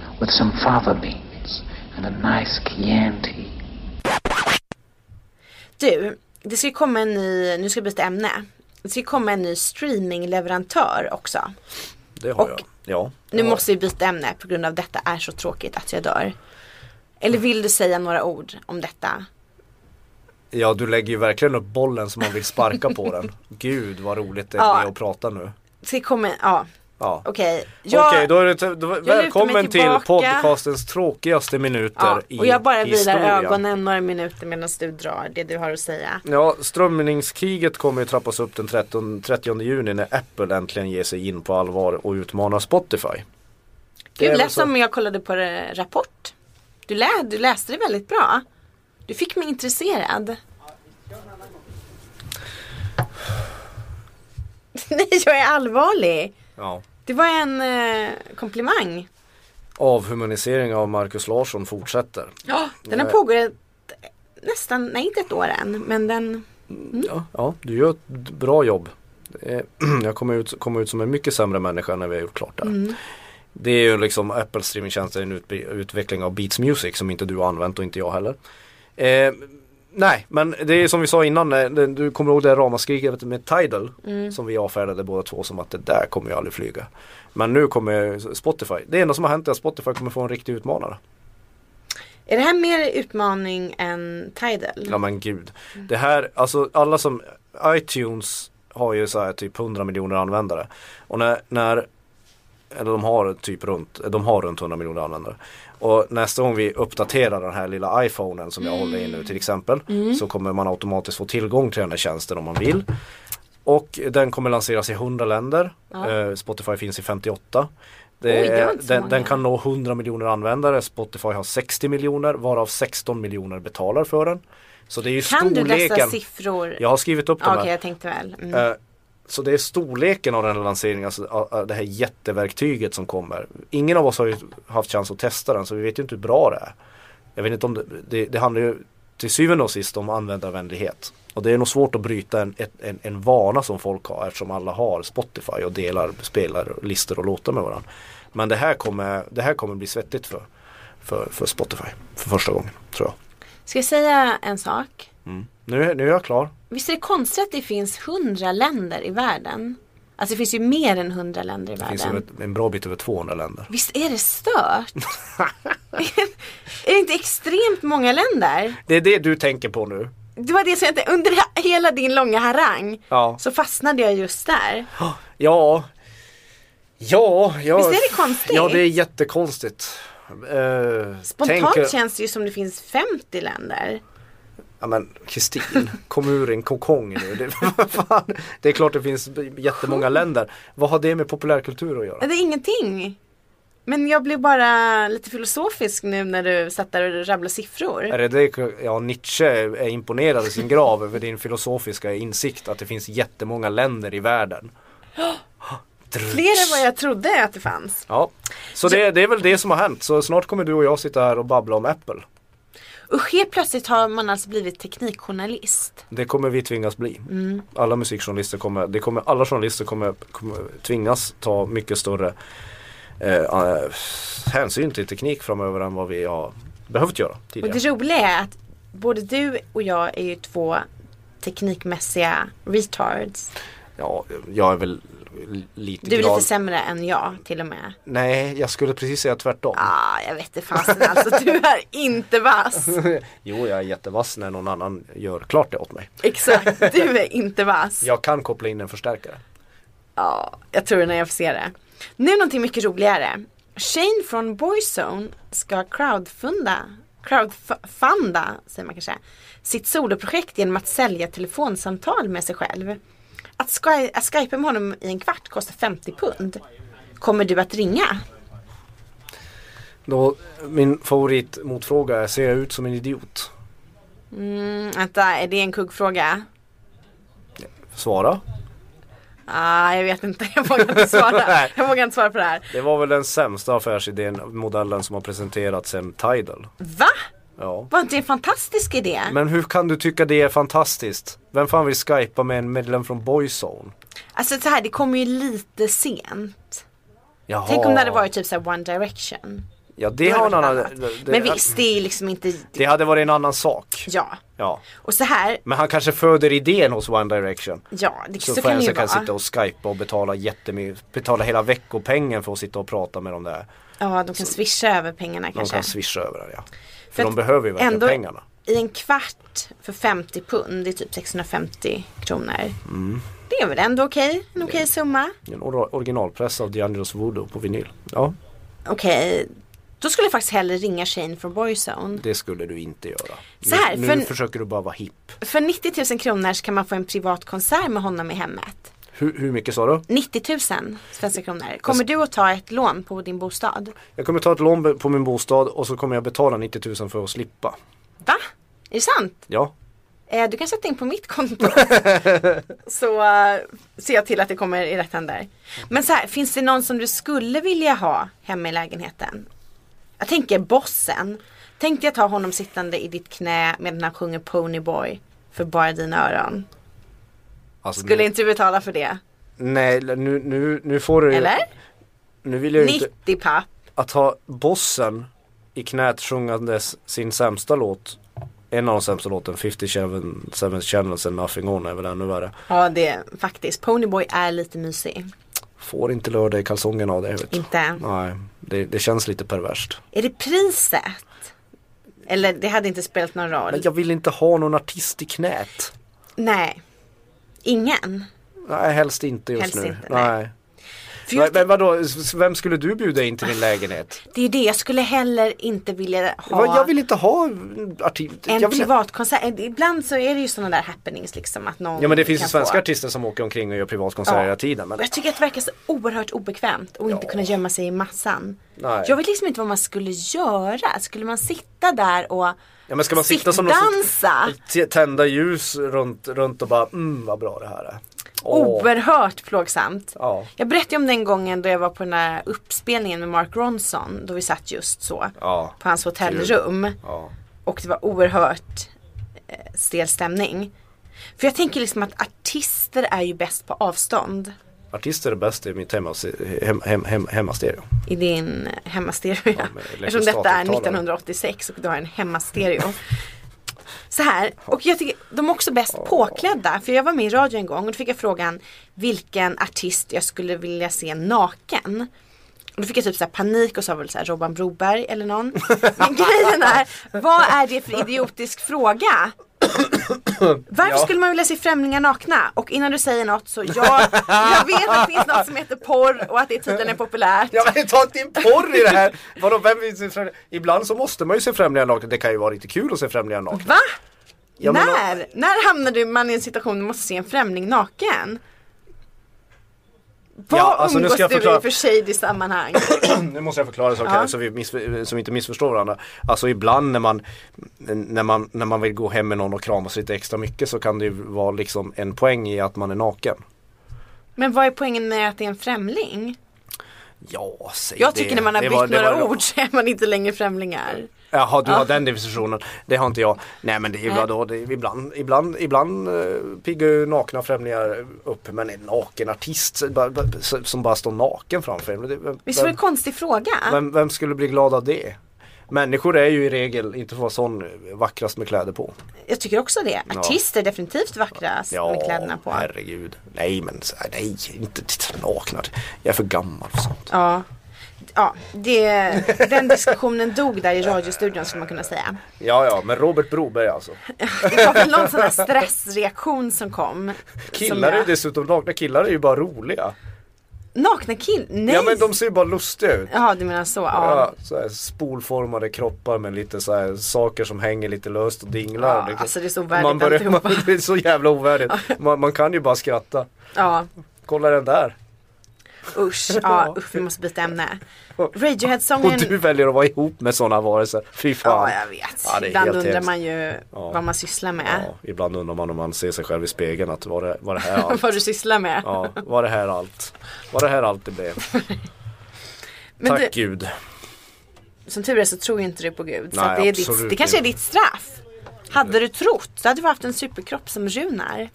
S5: with some fava beans and a nice Chianti.
S2: Du, det ska ju komma en ny, nu ska jag byta ämne. Det ska ju komma en ny streamingleverantör också.
S3: Det har
S2: Och-
S3: jag. Ja. det
S2: Nu
S3: har
S2: måste vi byta ämne på grund av detta är så tråkigt att jag dör. Eller vill du säga några ord om detta?
S3: jag. Ja du lägger ju verkligen upp bollen som man vill sparka
S2: *laughs*
S3: på den. Gud vad roligt det är
S2: Ja.
S3: att prata nu.
S2: Det ska komma, ja
S3: Ja.
S2: okej.
S3: Okej,
S2: Jag-
S3: då är det, då,
S2: lutar mig
S3: välkommen till
S2: tillbaka.
S3: podcastens tråkigaste minuter
S2: Ja,
S3: i
S2: och jag bara vilar
S3: historien.
S2: ögonen några minuter medan du drar det du har att säga.
S3: Ja, strömningskriget kommer ju trappas upp den 13, 30 juni när Apple äntligen ger sig in på allvar och utmanar Spotify. Det är
S2: Gud,
S3: väl
S2: lät
S3: så.
S2: som jag kollade på eh, Rapport. Du, lä du läste det väldigt bra. Du fick mig intresserad. *laughs* Nej, jag är allvarlig.
S3: Ja.
S2: Det var en eh, komplimang.
S3: avhumanisering av Marcus Larsson fortsätter.
S2: Ja, den har pågått ett- nästan, nej inte ett år än, men den,
S3: Ja, ja, du gör ett bra jobb. Eh, *clears throat* Jag kommer ut, kommer ut som en mycket sämre människa när vi har gjort klart det här. Det är ju liksom Apples streamingtjänst är en utbe- utveckling av Beats Music som inte du har använt och inte jag heller. Eh, nej, men det är som vi sa innan, eh, det- du kommer ihåg det här ramaskriket med Tidal som vi avfärdade båda två som att det där kommer ju aldrig flyga. Men nu kommer Spotify, det enda som har hänt är att Spotify kommer få en riktig utmanare.
S2: är det här mer utmaning än Tidal?
S3: Ja men gud. Det här, alltså alla som, iTunes har ju så här typ 100 miljoner användare. Och när, när eller de har typ runt, de har runt 100 miljoner användare. Och nästa gång vi uppdaterar den här lilla iPhonen som jag håller i nu till exempel. Så kommer man automatiskt få tillgång till den här tjänsten om man vill. Och den kommer lanseras i 100 länder. Eh, Spotify finns i 58. Det
S2: Oj, det var
S3: är,
S2: inte så
S3: den,
S2: många.
S3: den kan nå 100 miljoner användare. Spotify har 60 miljoner varav 16 miljoner betalar för den. Så det är ju
S2: Kan du
S3: storleken.
S2: dessa siffror?
S3: Jag har skrivit upp dem
S2: Okej,
S3: här.
S2: jag tänkte väl. Mm.
S3: Eh, Så det är storleken av den här lanseringen, alltså ah, ah, det här jätteverktyget som kommer. Ingen av oss har ju haft chans att testa den så vi vet ju inte hur bra det är. Jag vet inte om det, det, det handlar ju till syvende och sist om användarvänlighet. Och det är nog svårt att bryta en, ett- en, en vana som folk har eftersom alla har Spotify och delar spelar, listor och låtar med varandra. Men det här kommer, det här kommer bli svettigt för, för, för Spotify för första gången tror jag.
S2: Ska jag säga en sak?
S3: Nu, nu är jag klar.
S2: Visst är det konstigt att det finns hundra länder i världen? Alltså det finns ju mer än hundra länder i
S3: Det finns ju
S2: världen.
S3: ett- en bra bit över 200 länder.
S2: Visst är det stört? *laughs* är det inte extremt många länder?
S3: Det är det du tänker på nu.
S2: Det var det som jag inte, under he- hela din långa harang
S3: Ja.
S2: så fastnade jag just där.
S3: *gasps* Ja. Ja, ja.
S2: Visst är det konstigt?
S3: Ja, det är jättekonstigt. Eh,
S2: Spontant
S3: tänk-
S2: känns det ju som det finns 50 länder.
S3: Ja men Kristin, kom ur en kokong nu. Det, *laughs* vad fan? det är klart det finns jättemånga länder. Vad har det med populärkultur att
S2: Det
S3: göra?
S2: är ingenting. Men jag blev bara lite filosofisk nu när du satt där och rabblade
S3: Är
S2: siffror.
S3: det det? Ja, Nietzsche är imponerad i sin grav över din filosofiska insikt att det finns jättemånga länder i världen. *gasps*
S2: Fler än vad jag trodde att det fanns.
S3: Ja, så det, det är väl det som har hänt. Så snart kommer du och jag sitta här och babbla om Apple.
S2: Usch, helt plötsligt har man alltså blivit teknikjournalist.
S3: Det kommer vi tvingas bli.
S2: Mm.
S3: Alla musikjournalister kommer, det kommer, alla journalister kommer, kommer tvingas ta mycket större eh, eh, hänsyn till teknik framöver än vad vi har behövt göra
S2: Och
S3: tidigare.
S2: det roliga är att både du och jag är ju två teknikmässiga retards.
S3: Ja, jag är väl l- lite
S2: Du är
S3: glad.
S2: lite sämre än jag till och med.
S3: Nej, jag skulle precis säga tvärtom.
S2: Ah, jag vet det fasen alltså, du är inte vass.
S3: *laughs* Jo, jag är jättevass när någon annan gör klart det åt mig.
S2: Exakt, du är inte vass.
S3: Jag kan koppla in en förstärkare.
S2: Ja, jag tror det när jag får se det. Nu någonting mycket roligare. Shane från Boyzone ska crowdfunda, crowdfunda säger man kanske, sitt soloprojekt genom att sälja telefonsamtal med sig själv. Att, sky- att skypa med honom i en kvart kostar 50 pund. Kommer du att ringa?
S3: Då, min favoritmotfråga är, ser jag ut som en idiot?
S2: Mm, vänta, är det en kuggfråga?
S3: Svara.
S2: Ah, jag vet inte, jag vågar inte svara.
S3: *laughs* Nej.
S2: Jag vågar inte svara på det här.
S3: Det var väl den sämsta affärsidén, modellen som har presenterats sen Tidal.
S2: Va?
S3: Ja.
S2: Var inte det en fantastisk idé?
S3: Men hur kan du tycka det är fantastiskt? Vem fan vill skypa med en medlem från Boyzone?
S2: Alltså så här, det kommer ju lite sent.
S3: Jaha.
S2: Tänk om det hade varit typ såhär One Direction.
S3: Ja det
S2: Då
S3: har en
S2: hade
S3: annan...
S2: det varit annat.
S3: Det,
S2: Men visst, det är liksom inte...
S3: det hade varit en annan sak.
S2: Ja.
S3: Ja.
S2: Och så här,
S3: Men han kanske föder idén hos One Direction.
S2: ja, det, så,
S3: Så,
S2: kan det ju
S3: fansen
S2: vara.
S3: kan sitta och skypa och betala jättemycket, betala hela veckopengen för att sitta och prata med dem där.
S2: ja, de kan swisha över pengarna
S3: De
S2: kanske.
S3: kan swisha över det ja. För,
S2: För
S3: de
S2: att
S3: behöver ju verkligen
S2: ändå-
S3: pengarna.
S2: I en kvart för 50 pund, det är typ 650 kronor.
S3: Mm.
S2: Det är väl ändå okej? En okej summa?
S3: En or- originalpress av D'Angelos Voodoo på vinyl. Ja,
S2: Okej. Då skulle jag faktiskt hellre ringa Shane från Boyzone.
S3: det skulle du inte göra.
S2: Så här,
S3: nu nu
S2: för-
S3: försöker du bara vara hipp.
S2: För 90 000 kronor så kan man få en privat konsert med honom i hemmet.
S3: Hur, hur mycket sa du?
S2: 90 000 svenska kronor. Kommer du att ta ett lån på din bostad?
S3: Jag kommer ta ett lån be- på min bostad och så kommer jag betala 90 000 för att slippa.
S2: Va? Är det sant?
S3: Ja,
S2: Eh, du kan sätta in på mitt konto. så eh, ser jag till att det kommer i rätt händer. Men så här, finns det någon som du skulle vilja ha hemma i lägenheten? Jag tänker bossen. Tänk dig att ha honom sittande i ditt knä medan han sjunger Ponyboy för bara dina öron.
S3: Alltså,
S2: Skulle
S3: nu,
S2: inte du betala för det?
S3: Nej, nu, nu, nu får du
S2: Eller?
S3: Nu vill jag ju inte
S2: 90 papp.
S3: att ha bossen i knät sjungandes sin sämsta låt en av de sämsta låten, 57 Seven Channels and Nothing On är väl ännu värre.
S2: Ja det är faktiskt. Ponyboy är lite mysig.
S3: Får inte lördag i kalsongerna av det. Vet. du.
S2: Inte?
S3: Nej, det, det känns lite perverst.
S2: Är det priset? Eller det hade inte spelat någon roll.
S3: Men jag vill inte ha någon artist i knät.
S2: Nej. Ingen.
S3: Nej, helst inte just
S2: Helst
S3: nu.
S2: inte, nej.
S3: nej.
S2: För
S3: Nej,
S2: just,
S3: men vadå, s- s- vem skulle du bjuda in till din lägenhet?
S2: det är ju det, jag skulle heller inte vilja ha
S3: Vad- Jag vill inte ha artist.
S2: en
S3: jag vill...
S2: privatkonsert. Eh, Ibland så är det ju sådana där happenings liksom att någon
S3: Ja men det finns ju
S2: kan
S3: svenska
S2: få.
S3: artister som åker omkring och gör privatkonserter
S2: Ja.
S3: hela tiden. Men
S2: Och jag tycker att det verkar så oerhört obekvämt att inte kunna gömma sig i massan.
S3: Nej.
S2: Jag vet liksom inte vad man skulle göra. Skulle man sitta där och
S3: Ja men ska man sitta som någon
S2: dansa?
S3: t- tända ljus runt, runt och bara mm vad bra det här är. Åh.
S2: Oerhört plågsamt.
S3: Ja.
S2: Jag berättade om den gången då jag var på den här uppspelningen med Mark Ronson. Då vi satt just så.
S3: Ja.
S2: På hans hotellrum.
S3: Ja.
S2: Och det var oerhört eh, stel stämning. För jag tänker liksom att artister är ju bäst på avstånd.
S3: Artister är bäst i mitt hemma, hem, hem, hem, hemmastereo.
S2: I din eh, hemmastereo. Ja,
S3: med
S2: Eftersom detta är
S3: elektrostatiktalare.
S2: 1986 och du har en hemmastereo. *laughs* Så här, och jag tycker de är också bäst påklädda. För jag var med i radio en gång och då fick jag frågan vilken artist jag skulle vilja se naken. Och då fick jag typ så här panik och sa väl så här Robban Broberg eller *laughs* någon. Men grejen är, vad är det för idiotisk fråga? Varför skulle man vilja se främlingar nakna? Och innan du säger något så jag, jag vet att det finns något som heter porr och att det tydligen är populärt.
S3: Ja men ta inte in porr i det här! Vadå vem vill se främlingar? Ibland så måste man ju se främlingar nakna, det kan ju vara lite kul att se främlingar nakna.
S2: Va?
S3: Ja, men-
S2: när? När hamnade man i en situation där man måste se en främling naken? Vad
S3: Ja, alltså, nu
S2: umgås
S3: ska jag
S2: du i
S3: förklara.
S2: för sig i
S3: *laughs*
S2: sammanhang?
S3: *clears throat* nu måste jag förklara saker här så vi miss- så vi inte missförstår varandra. Alltså ibland när man, när, man, när man vill gå hem med någon och kramas lite extra mycket så kan det ju vara liksom en poäng i att man är naken.
S2: Men vad är poängen med att det är en främling?
S3: Ja, säg
S2: Jag
S3: det.
S2: tycker när man har
S3: Det
S2: bytt
S3: var- det
S2: några
S3: var-
S2: ord så är man inte längre främlingar.
S3: Jaha, du har den definitionen. Det har inte jag. Nej men det är ju bra då. Det är, ibland ibland, ibland eh, piggar ju nakna främlingar upp. Men en naken artist så- bara- bara- så- som bara står naken framför en. Det- vem-
S2: Visst var det
S3: vem-
S2: en konstig fråga?
S3: Vem, vem skulle bli glad av det? Människor är ju i regel inte för att vara sån vackrast med kläder på.
S2: Jag tycker också det. Artister är definitivt vackrast med kläderna på.
S3: herregud. Nej men så- nej, inte titta nakna. Jag är för gammal för sånt.
S2: Ja, ja det, den diskussionen dog där i radiostudion skulle man kunna säga.
S3: Ja ja, men Robert Broberg alltså.
S2: Det var väl någon
S3: *laughs*
S2: sån här stressreaktion som kom. som
S3: Killar
S2: jag-
S3: är ju dessutom nakna killar är ju bara roliga.
S2: Nakna kill? Nej!
S3: Ja men de ser ju bara lustiga ut.
S2: Jaha du menar så, ja.
S3: Ja, så här spolformade kroppar med lite så här saker som hänger lite löst och dinglar.
S2: Ja,
S3: liksom.
S2: alltså det är så ovärdigt
S3: man börjar,
S2: alltihopa.
S3: man, *laughs* Det är så jävla ovärdigt. Man, man kan ju bara skratta.
S2: ja.
S3: Kolla den där.
S2: Usch, ja usch vi måste byta ämne.
S3: Och
S2: Radiohead-sången.
S3: du väljer att vara ihop med sådana varelser. Fy fan.
S2: Ja jag vet.
S3: Ja, det är
S2: Ibland
S3: helt
S2: undrar
S3: hemskt.
S2: man ju vad man sysslar med.
S3: Ja, ibland undrar man om man ser sig själv i spegeln att var det, var det här
S2: *laughs*
S3: allt?
S2: Vad du sysslar med.
S3: Ja, var det här allt? Var det här allt det blev?
S2: Men
S3: Tack
S2: du,
S3: gud.
S2: som tur är så tror ju inte du på Gud. så
S3: Nej,
S2: att det, är ditt,
S3: absolut
S2: det kanske är
S3: inte.
S2: ditt straff. Hade du trott, då hade du haft en superkropp som Runar.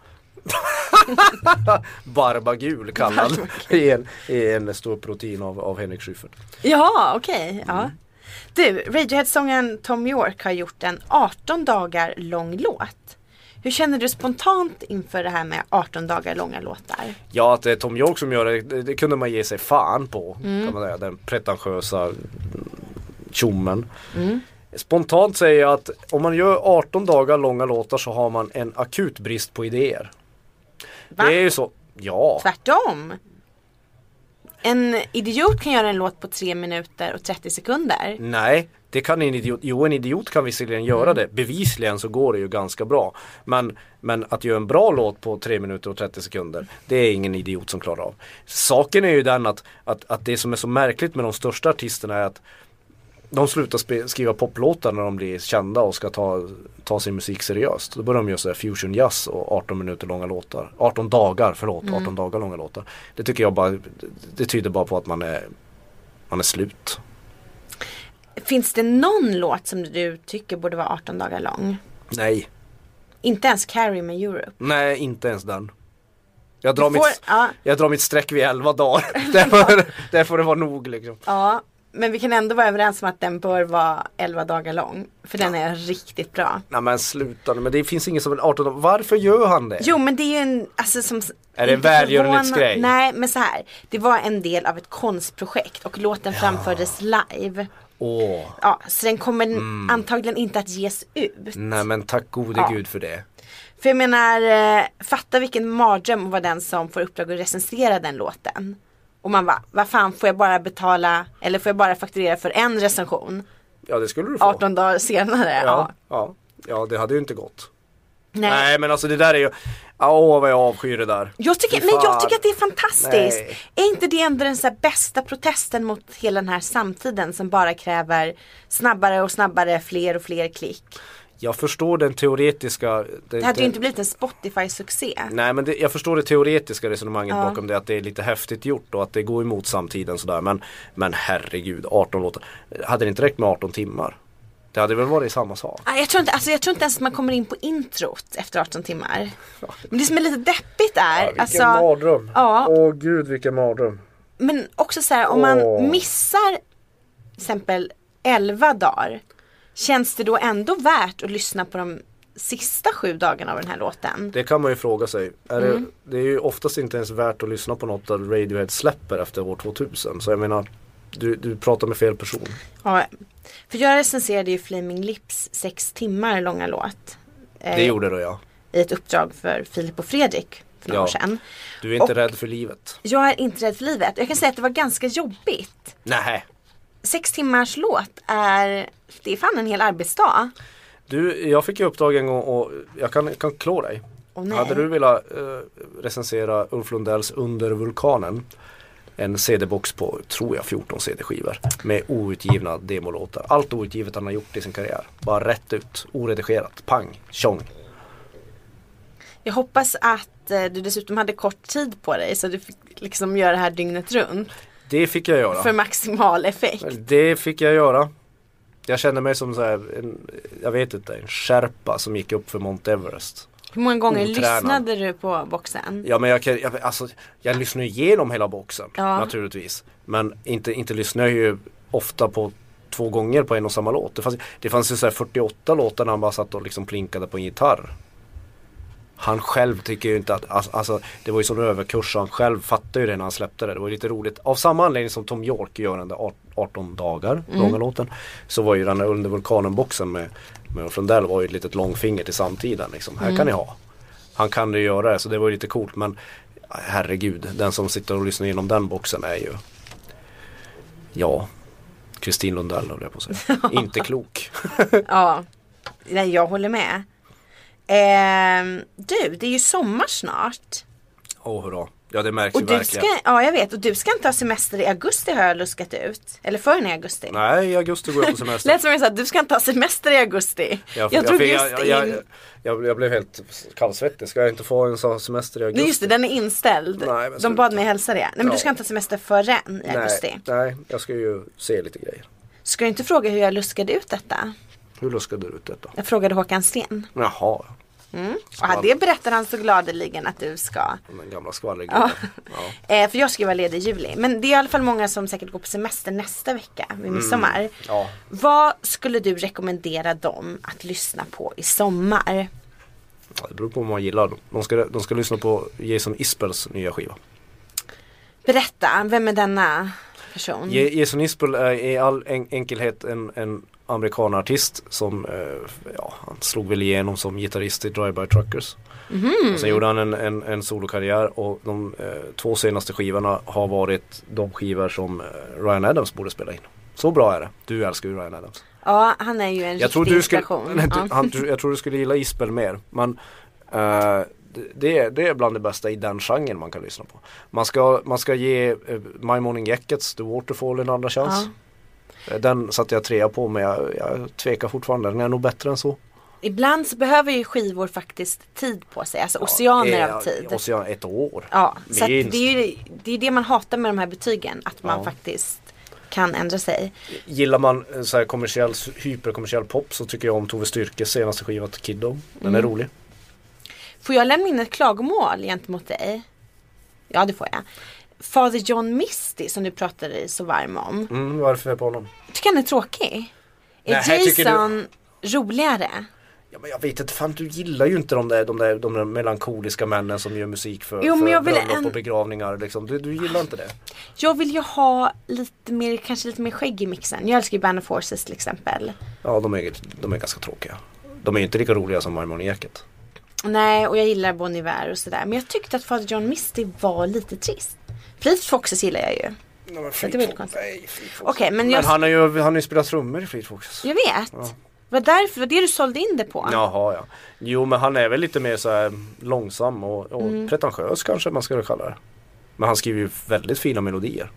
S3: Barbagul *laughs* kallad i en, i en stor protein av, av Henrik Schyffert.
S2: Ja, okej.
S3: Mm.
S2: Ja. Du, Radiohead-sångaren Tom York har gjort en 18 dagar lång låt. Hur känner du spontant inför det här med 18 dagar långa låtar?
S3: Ja att det är Tom York som gör det, det, det kunde man ge sig fan på.
S2: Mm.
S3: Kan man säga, den pretentiösa mm, tjommen.
S2: Mm.
S3: Spontant säger jag att om man gör 18 dagar långa låtar så har man en akut brist på idéer.
S2: Va?
S3: Det är ju så. Ja,
S2: Tvärtom. En idiot kan göra en låt på 3 minuter och 30 sekunder.
S3: nej. Det kan en idiot, jo en idiot kan visserligen göra det. Bevisligen så går det ju ganska bra. Men, men att göra en bra låt på 3 minuter och 30 sekunder. Det är ingen idiot som klarar av. Saken är ju den att, att, att det som är så märkligt med de största artisterna är att De slutar spe- skriva poplåtar när de blir kända och ska ta, ta sin musik seriöst. Då börjar de göra så här fusion jazz och 18 minuter långa låtar. 18 dagar, förlåt, 18 dagar långa låtar. Det tycker jag bara, det tyder bara på att man är, man är slut.
S2: Finns det någon låt som du tycker borde vara 18 dagar lång?
S3: Nej,
S2: Inte ens Carrie med Europe.
S3: nej inte ens den. Jag drar,
S2: Du får-
S3: mitt,
S2: ja.
S3: jag drar mitt streck vid
S2: *laughs*
S3: 11 dagar. där, får, där får det vara nog liksom.
S2: Ja, men vi kan ändå vara överens om att den bör vara 11 dagar lång. För den är riktigt bra.
S3: Nej men sluta nu, men det finns ingen som är 18 år. Varför gör han det?
S2: Jo men det är ju en, alltså som
S3: Är det en
S2: inte
S3: välgörenhetsgrej?
S2: förvåna- Nej men så här. Det var en del av ett konstprojekt och låten framfördes live.
S3: Åh,
S2: Ja, så den kommer
S3: Mm.
S2: antagligen inte att ges ut.
S3: nej men tack gode
S2: Ja.
S3: gud för det.
S2: För jag menar, eh, fatta vilken mardröm att vara den som får uppdrag att recensera den låten. Och man bara, vad fan får jag bara betala, eller får jag bara fakturera för en recension?
S3: Ja det skulle du få.
S2: 18 dagar senare. Ja.
S3: ja, ja. ja, det hade ju inte gått.
S2: Nej.
S3: Nej, men alltså det där är ju, åh vad jag avskyr det där.
S2: Jag tycker,
S3: Fy
S2: men jag
S3: fan.
S2: tycker att det är fantastiskt.
S3: Nej.
S2: Är inte det ändå den så här bästa protesten mot hela den här samtiden som bara kräver snabbare och snabbare, fler och fler klick?
S3: Jag förstår den teoretiska
S2: Det hade ju inte blivit en Spotify-succé.
S3: Nej men det, jag förstår det teoretiska resonemanget
S2: Ja.
S3: bakom det att det är lite häftigt gjort och att det går emot samtiden sådär men Men herregud 18 låtar Hade det inte räckt med 18 timmar? Det hade väl varit samma sak?
S2: Ah, Jag tror, inte, alltså jag tror inte ens att man kommer in på introt efter 18
S3: *laughs*
S2: timmar. Men det som är lite deppigt är, alltså, Ja.
S3: Åh gud vilken mardröm
S2: men också så här om man
S3: Åh.
S2: missar till exempel 11 dagar. Känns det då ändå värt att lyssna på de sista sju dagarna av den här låten?
S3: Det kan man ju fråga sig är det, det är ju oftast inte ens värt att lyssna på något där Radiohead släpper efter år 2000 Så jag menar du, du pratar med fel person
S2: Ja, för jag recenserade ju Flaming Lips sex timmar långa låt. eh,
S3: Det gjorde du ja
S2: I ett uppdrag för Filip och Fredrik för några
S3: Ja.
S2: år sedan.
S3: Du är inte
S2: Och-
S3: rädd för livet
S2: Jag är inte rädd för livet. Jag kan säga att det var ganska jobbigt.
S3: Nej.
S2: Sex timmars låt är, det är fan en hel arbetsdag.
S3: Du, jag fick ju uppdrag en gång och jag kan, kan klå dig
S2: Åh, nej.
S3: Hade du velat eh, recensera Ulf Lundells Under vulkanen en CD-box på, tror jag, 14 CD-skivor med outgivna demolåtar. Allt outgivet han har gjort i sin karriär. Bara rätt ut, oredigerat, pang, tjong.
S2: Jag hoppas att eh, du dessutom hade kort tid på dig så du fick liksom göra det här dygnet runt.
S3: Det fick jag göra.
S2: För maximal effekt.
S3: Det fick jag göra. Jag kände mig som så här, en, jag vet inte, en sherpa som gick upp för Mount Everest.
S2: Hur många gånger
S3: Otränad.
S2: lyssnade du på boxen?
S3: Ja men jag kan, jag, alltså, jag lyssnar ju igenom hela boxen
S2: Ja.
S3: naturligtvis. Men inte, inte lyssnar jag ju ofta på två gånger på en och samma låt. Det fanns, det fanns ju så här 48 låtar när han bara satt och liksom plinkade på en gitarr. Han själv tycker ju inte att, alltså, alltså det var ju sån överkurs så han själv fattade ju det när han släppte det. Det var ju lite roligt. Av samma anledning som Tom York gör den där art- 18 dagar långa låten. Så var ju den där under vulkanenboxen med, med Ulf Lundell var ju ett litet långfinger till samtiden liksom. Här kan ni ha. Han kan ju göra det så det var ju lite coolt men herregud, den som sitter och lyssnar igenom den boxen är ju ja, Kristin Lundell höll jag på
S2: *laughs*
S3: att säga. Inte klok.
S2: Ja, nej jag håller med. Ehm, du, det är ju sommar snart.
S3: Åh hurra. Ja det märks
S2: Och
S3: ju
S2: du
S3: verkligen.
S2: ska, ja jag vet, och du ska inte ha semester i augusti har jag luskat ut. Eller förrän i augusti.
S3: Nej, i augusti går jag på semester.
S2: Lät som jag sa, du ska inte ha semester i augusti. Jag, drog
S3: fick-
S2: just
S3: jag, jag,
S2: in,
S3: jag, jag, jag blev helt kallsvettig. Ska jag inte få en sån här semester i augusti?
S2: nej just det, den är inställd.
S3: Nej, men
S2: De
S3: sluta.
S2: bad mig hälsa det. Nej men du
S3: Ja.
S2: ska inte ha semester förrän i augusti.
S3: Nej, nej, jag ska ju se lite grejer.
S2: Ska du inte fråga hur jag luskade ut detta?
S3: Hur luskade du ut detta?
S2: Jag frågade Håkan Sten.
S3: Jaha,
S2: Och det berättar han så gladeligen att du ska.
S3: den gamla skvallergubben. Ja.
S2: *laughs* Eh, för jag ska ju vara ledig i juli. Men det är i alla fall många som säkert går på semester nästa vecka
S3: Mm.
S2: vid midsommar.
S3: ja.
S2: Vad skulle du rekommendera dem att lyssna på i sommar?
S3: Ja, det beror på vad man gillar. De ska, de ska lyssna på Jason Isbells nya skiva.
S2: Berätta, vem är denna person?
S3: Je- Jason Isbell är i all en- enkelhet en, en amerikanartist som eh, ja, han slog väl igenom som gitarrist i Drive-By Truckers. Och sen gjorde han en, en, en solokarriär och de eh, två senaste skivorna har varit de skivor som eh, Ryan Adams borde spela in. Så bra är det. Du älskar ju Ryan Adams.
S2: Ja, han är ju en
S3: Jag tror,
S2: riktig
S3: du skulle,
S2: inspiration.
S3: *laughs* nej,
S2: ja.
S3: du, han, du- jag tror du skulle gilla Isbell mer. Men eh, det- det, är- det är bland det bästa i den genren man kan lyssna på. Man ska, man ska ge eh, My Morning Jackets, The Waterfall en andra chans. Eh, Den satte jag trea på men jag, jag tvekar fortfarande. Den är nog bättre än så.
S2: Ibland så behöver ju skivor faktiskt tid på sig, alltså oceaner
S3: Eh,
S2: av tid.
S3: Ocean, ett år.
S2: Ja, så att det
S3: Minst.
S2: är ju det, är ju det man hatar med de här betygen, att man
S3: Ja.
S2: faktiskt kan ändra sig.
S3: Gillar man eh, så här kommersiell, hyperkommersiell pop så tycker jag om Tove Styrkes senaste skiva Kiddo. Den
S2: Mm.
S3: är rolig.
S2: Får jag lämna in ett klagomål gentemot dig? Ja, det får jag. Father John Misty som du pratade dig så varm om.
S3: Mm, vad är det för fel på honom?
S2: Tycker han är tråkig? Är
S3: Nej, här tycker du-
S2: Jason roligare?
S3: Ja, men jag vet inte, fan du gillar ju inte de där, de där, de där melankoliska männen som gör musik för,
S2: Jo, men
S3: för
S2: jag vill
S3: bröllop
S2: en-
S3: och begravningar liksom. du, du gillar inte det?
S2: Jag vill ju ha lite mer, kanske lite mer skägg i mixen. Jag älskar ju Band of Forces till exempel.
S3: Ja, de är, de är ganska tråkiga. De är ju inte lika roliga som Marimon Eket.
S2: Nej, och jag gillar Bon Iver och sådär. Men jag tyckte att Father John Misty var lite trist. Fleet Foxes gillar jag ju. Så det var lite konstigt. Okej, men
S3: Men
S2: jag,
S3: han har ju, han har ju spelat trummor i Fleet Foxes.
S2: jag vet. Vad därför, vad det du sålde in det på?
S3: Jaha ja. Jo men han är väl lite mer så här långsam och, och
S2: Mm.
S3: pretentiös kanske man skulle kalla det. Men han skriver ju väldigt fina melodier.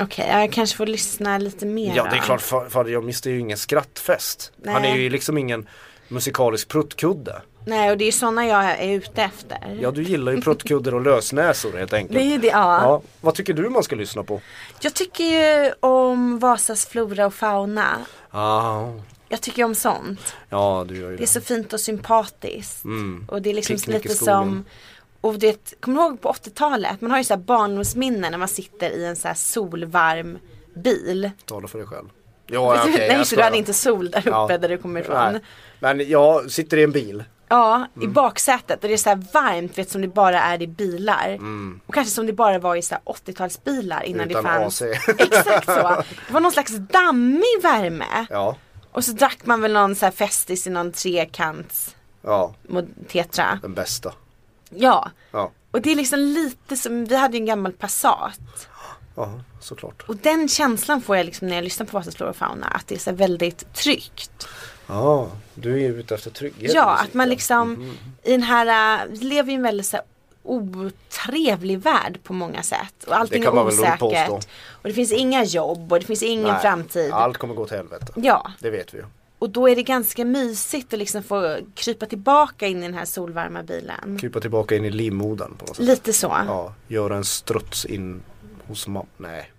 S2: Okej, ja, jag kanske får lyssna lite mer
S3: Ja det är
S2: då.
S3: klart, Fa- Fader jag missar ju ingen skrattfest.
S2: Nej.
S3: Han är ju liksom ingen musikalisk pruttkudde.
S2: Nej, och det är ju sådana jag är ute efter.
S3: Ja du gillar ju pruttkuddar och lösnäsor helt enkelt.
S2: Det är ju det, ja.
S3: Ja, vad tycker du man ska lyssna på?
S2: Jag tycker ju om Vasas flora och fauna.
S3: Ah,
S2: Jag tycker om sånt.
S3: ja du gör ju
S2: Det är
S3: det.
S2: så fint och sympatiskt.
S3: Mm.
S2: Och det är liksom
S3: Picknick i
S2: lite
S3: skogen.
S2: som och det, kommer du ihåg på 80-talet? Man har ju så här barndomsminnen när man sitter i en så här solvarm bil.
S3: Tala för dig själv. Ja, ja, okej,
S2: *laughs* Nej,
S3: jag
S2: så
S3: ska-
S2: du hade inte sol där uppe
S3: Ja.
S2: där du kommer ifrån.
S3: Nej. Mm. Men jag sitter i en bil.
S2: Ja, i baksätet och det är så här varmt vet som det bara är i bilar. Och kanske som det bara var i så här 80-talsbilar innan
S3: Mm. Utan
S2: det fanns. *laughs*
S3: AC.
S2: Exakt så. Det var någon slags dammig värme.
S3: Ja,
S2: Och så drack man väl någon så här festis i någon trekants
S3: ja
S2: mod- tetra.
S3: den bästa.
S2: Ja.
S3: Ja,
S2: Och det är liksom lite som, vi hade ju en gammal Passat.
S3: ja såklart.
S2: Och den känslan får jag liksom när jag lyssnar på Vasas flora och fauna. Att det är så här väldigt tryggt.
S3: Ja, du är ju ute efter trygghet.
S2: Ja, att man liksom
S3: Mm-hmm.
S2: i den här, äh, vi lever ju i en väldigt så här, otrevlig värld på många sätt. Och allting
S3: kan
S2: är
S3: man väl lugnt
S2: osäkert.
S3: påstå.
S2: Och det finns inga jobb och det finns ingen framtid.
S3: Allt kommer gå till helvete.
S2: Ja,
S3: Det vet vi ju.
S2: och då är det ganska mysigt att liksom få krypa tillbaka in i den här solvarma bilen.
S3: Krypa tillbaka in i livmodern på något sätt.
S2: Lite så.
S3: Ja, göra en struts in hos mamma.
S2: *laughs*
S3: Nej.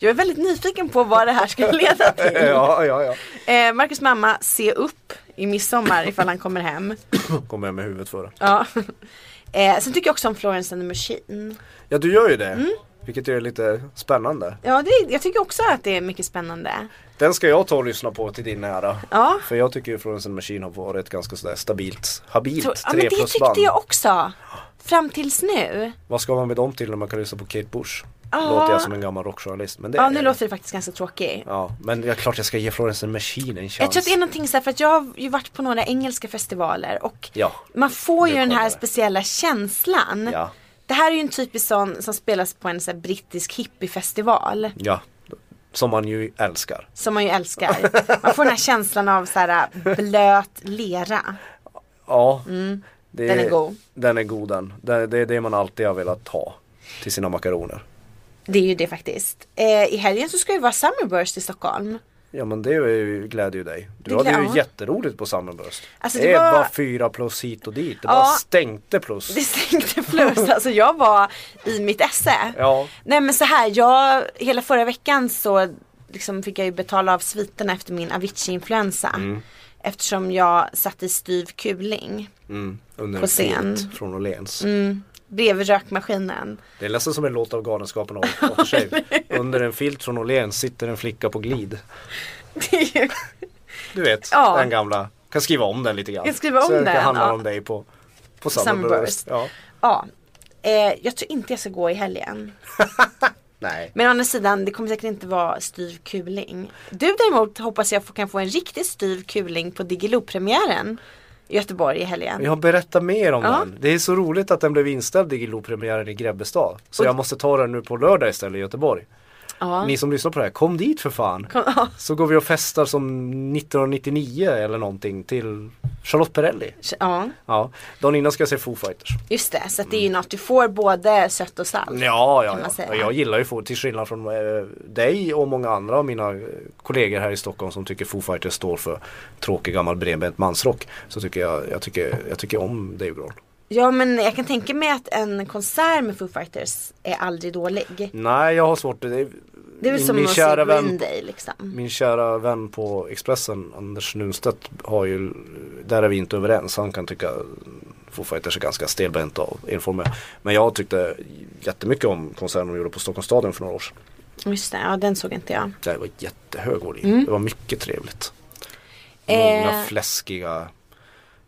S2: Jag är väldigt nyfiken på vad det här ska leda till.
S3: *laughs* Ja, ja, ja.
S2: eh, Marcus mamma, se upp i midsommar ifall han kommer hem.
S3: Kommer jag med huvudet för det.
S2: Ja. Eh, sen tycker jag också om Florence and the Machine.
S3: Ja, du gör ju det.
S2: Mm.
S3: Vilket är lite spännande.
S2: Ja, det, är- jag tycker också att det är mycket spännande.
S3: Den ska jag ta och lyssna på till din ära.
S2: Ja.
S3: För jag tycker ju Florence and the Machine har varit ganska sådär stabilt, habilt
S2: Så,
S3: 3
S2: ja men det
S3: plus
S2: tyckte
S3: band.
S2: jag också. Fram tills nu.
S3: Vad ska man med dem till när man kan lyssna på Kate Bush?
S2: Ja.
S3: Låter jag som en gammal rockjournalist. Men det
S2: Ja
S3: är
S2: nu låter det faktiskt ganska tråkigt.
S3: Eh. Ja, men det är klart jag ska ge Florence and the Machine en chans.
S2: Jag tror att det är någonting så här, för att jag har ju varit på några engelska festivaler och
S3: Ja.
S2: man får ju
S3: Nu
S2: den här
S3: kommer.
S2: speciella känslan.
S3: Ja.
S2: Det här är ju en typisk sån som spelas på en så här brittisk hippiefestival.
S3: Ja, som man ju älskar.
S2: Som man ju älskar. Man får den här känslan av så här äh, blöt lera.
S3: Ja, det
S2: Mm. Den är god.
S3: Den är god den. Det, det är det man alltid har velat ha till sina makaroner.
S2: Det är ju det faktiskt. Eh, I helgen så ska ju vara Summerburst i Stockholm. *laughs*
S3: Ja men det är ju- gläder ju dig. Du
S2: Det
S3: hade
S2: glä-
S3: ju
S2: ja.
S3: jätteroligt på Summerburst.
S2: Alltså,
S3: det,
S2: det var-
S3: var fyra plus hit och dit. Det
S2: Ja.
S3: bara stänkte plus.
S2: Det stänkte plus, alltså jag var i mitt esse.
S3: Ja.
S2: Nej men så här, jag, hela förra veckan så liksom fick jag ju betala av sviterna efter min Avicii-influensa. Eftersom jag satt i styv kuling
S3: Mm, under
S2: På
S3: en scen.
S2: scen. Mm.
S3: från Åhléns.
S2: bredvid rökmaskinen. *laughs*
S3: Det låter som en låt av Galenskapen och och sig. Under en filt från Åhléns sitter en flicka på glid.
S2: Det är ju-
S3: Du vet,
S2: Ja.
S3: den gamla. Kan skriva om den lite grann.
S2: Jag skriver om
S3: Så det
S2: den,
S3: handlar
S2: ja.
S3: om dig på, på
S2: Summerburst.
S3: Summerburst. Ja.
S2: ja. Eh, jag tror inte jag ska gå i helgen.
S3: Nej.
S2: Men å andra sidan, det kommer säkert inte vara styv kuling. Du däremot hoppas jag får- kan få en riktigt styv kuling på Diggiloo-premiären i Göteborg i helgen.
S3: Jag berättar mer om
S2: Ja.
S3: den. Det är så roligt att den blev inställd Diggiloo-premiären i Grebbestad. Så
S2: Och-
S3: jag måste ta den nu på lördag istället i Göteborg.
S2: Ja.
S3: Ni som lyssnar på det här, kom dit för fan. Så går vi och festar som 1999 eller någonting till Charlotte Perrelli.
S2: ja.
S3: Ja, dagen innan ska jag se Foo Fighters.
S2: Just det, så att det är ju något du får både sött och salt.
S3: Mm. Ja,
S2: man
S3: ja, ja.
S2: säga.
S3: Och jag gillar ju Foo, till skillnad från eh, dig och många andra av mina eh, kollegor här i Stockholm som tycker Foo Fighters står för tråkig gammal bredbent mansrock. Så tycker jag, jag tycker, jag tycker om Dave Grohl.
S2: Ja men jag kan tänka mig att en konsert med Foo Fighters är aldrig dålig.
S3: Nej, jag har svårt. Det är,
S2: Det är väl
S3: min,
S2: som
S3: min
S2: att se
S3: kära
S2: Green
S3: vän, Mm.
S2: Day liksom.
S3: min kära vän på Expressen, Anders Nunstedt, har ju, där är vi inte överens. Han kan tycka Foo Fighters är ganska stelbenta och enformiga. Men jag tyckte jättemycket om konserten de gjorde på Stockholms stadion för några år sedan.
S2: Just det, ja den såg inte jag.
S3: Det var jättehög volym. Det var mycket trevligt. Många
S2: Mm. Eh.
S3: fläskiga,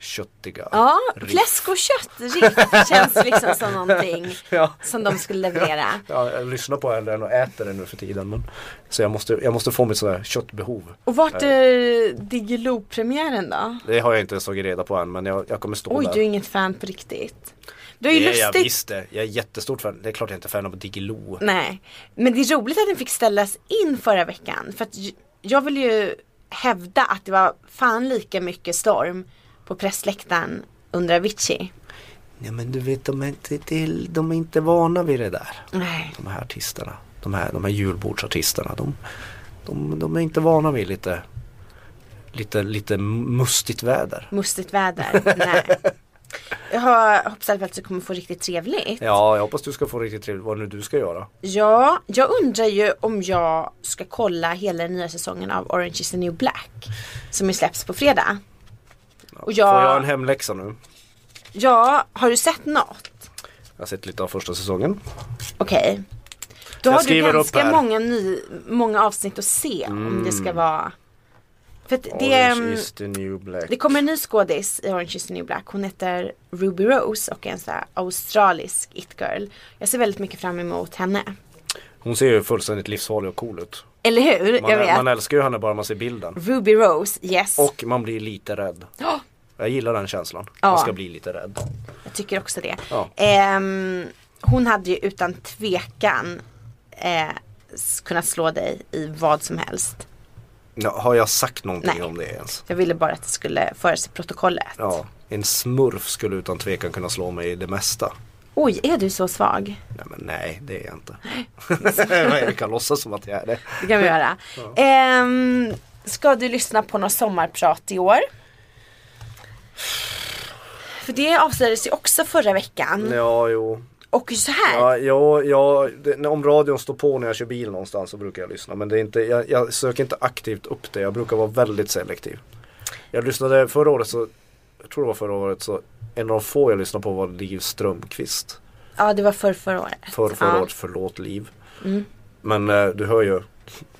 S3: köttiga
S2: Ja,
S3: riff.
S2: fläsk och kött
S3: *laughs*
S2: riff känns liksom som någonting
S3: Ja.
S2: som de skulle leverera.
S3: Ja, jag lyssnar på den och äter den nu för tiden. Men, så jag måste, jag måste få mitt sådär köttbehov.
S2: Och vart är Diggiloo-premiären då?
S3: Det har jag inte ens tagit reda på än men jag, jag kommer stå
S2: Oj,
S3: där.
S2: du är inget fan på riktigt. Du är
S3: det
S2: ju
S3: är jag
S2: lustigt.
S3: visst det. Jag är jättestort fan. Det är klart jag inte är fan av Diggiloo.
S2: Nej, men det är roligt att den fick ställas in förra veckan. För att j- jag vill ju hävda att det var fan lika mycket storm på pressläktaren under Avicii.
S3: Nej men du vet de är, inte, till, de är inte vana vid det där.
S2: Nej.
S3: De här artisterna. De här, de här julbordsartisterna. De, de, de är inte vana vid lite, lite, lite mustigt väder.
S2: Mustigt
S3: *laughs*
S2: väder. Nej. Jag har- hoppas i alla fall att du kommer få riktigt trevligt.
S3: Ja, jag hoppas du ska få riktigt trevligt. Vad nu du ska göra.
S2: Ja, jag undrar ju om jag ska kolla hela den nya säsongen av Orange is the new black. Som ju släpps på fredag. Och
S3: Får jag en
S2: jag,
S3: hemläxa nu?
S2: ja, har du sett något?
S3: Jag har sett lite av första säsongen.
S2: Okej. Då
S3: Jag
S2: har du
S3: skriver upp
S2: ganska
S3: här. Mm.
S2: många, ny, många avsnitt att se om det ska vara. För att det,
S3: Orange
S2: ehm,
S3: is the new black.
S2: det kommer en ny skådis i Orange is the new black. Hon heter Ruby Rose och är en sån här australisk it-girl. Jag ser väldigt mycket fram emot henne.
S3: Hon ser ju fullständigt livsfarlig och cool ut.
S2: Eller hur?
S3: Man,
S2: jag vet.
S3: man älskar ju henne bara man ser bilden.
S2: Ruby Rose, yes.
S3: Och man blir lite rädd.
S2: Ja.
S3: Jag gillar den känslan.
S2: Ja.
S3: Man ska bli lite rädd.
S2: *gasps* Jag tycker också det.
S3: Ja.
S2: Ehm, hon hade ju utan tvekan eh, s- kunnat slå dig i vad som helst.
S3: Ja, har jag sagt någonting
S2: Nej.
S3: om det ens?
S2: Jag ville bara att det skulle föras i protokollet.
S3: Ja. En smurf skulle utan tvekan kunna slå mig i det mesta.
S2: Oj, är du så svag?
S3: Nej men nej, det är jag inte. *laughs* Nej, jag kan låtsas som att jag är det.
S2: Det kan vi
S3: *laughs*
S2: göra. Ehm, ska du lyssna på något sommarprat i år? För det avslöjades ju också förra veckan.
S3: Mm. Ja, jo.
S2: Och så här.
S3: Ja, ja, ja, det, när- om radion står på när jag kör bil någonstans så brukar jag lyssna. Men det är inte, jag, jag söker inte aktivt upp det. Jag brukar vara väldigt selektiv. Jag lyssnade förra året så, jag tror det var förra året så, en av de få jag lyssnade på var Liv Strömquist.
S2: Ja, det var för förra året.
S3: för förra
S2: ja. Mm.
S3: årets förlåt liv. Men eh, du hör ju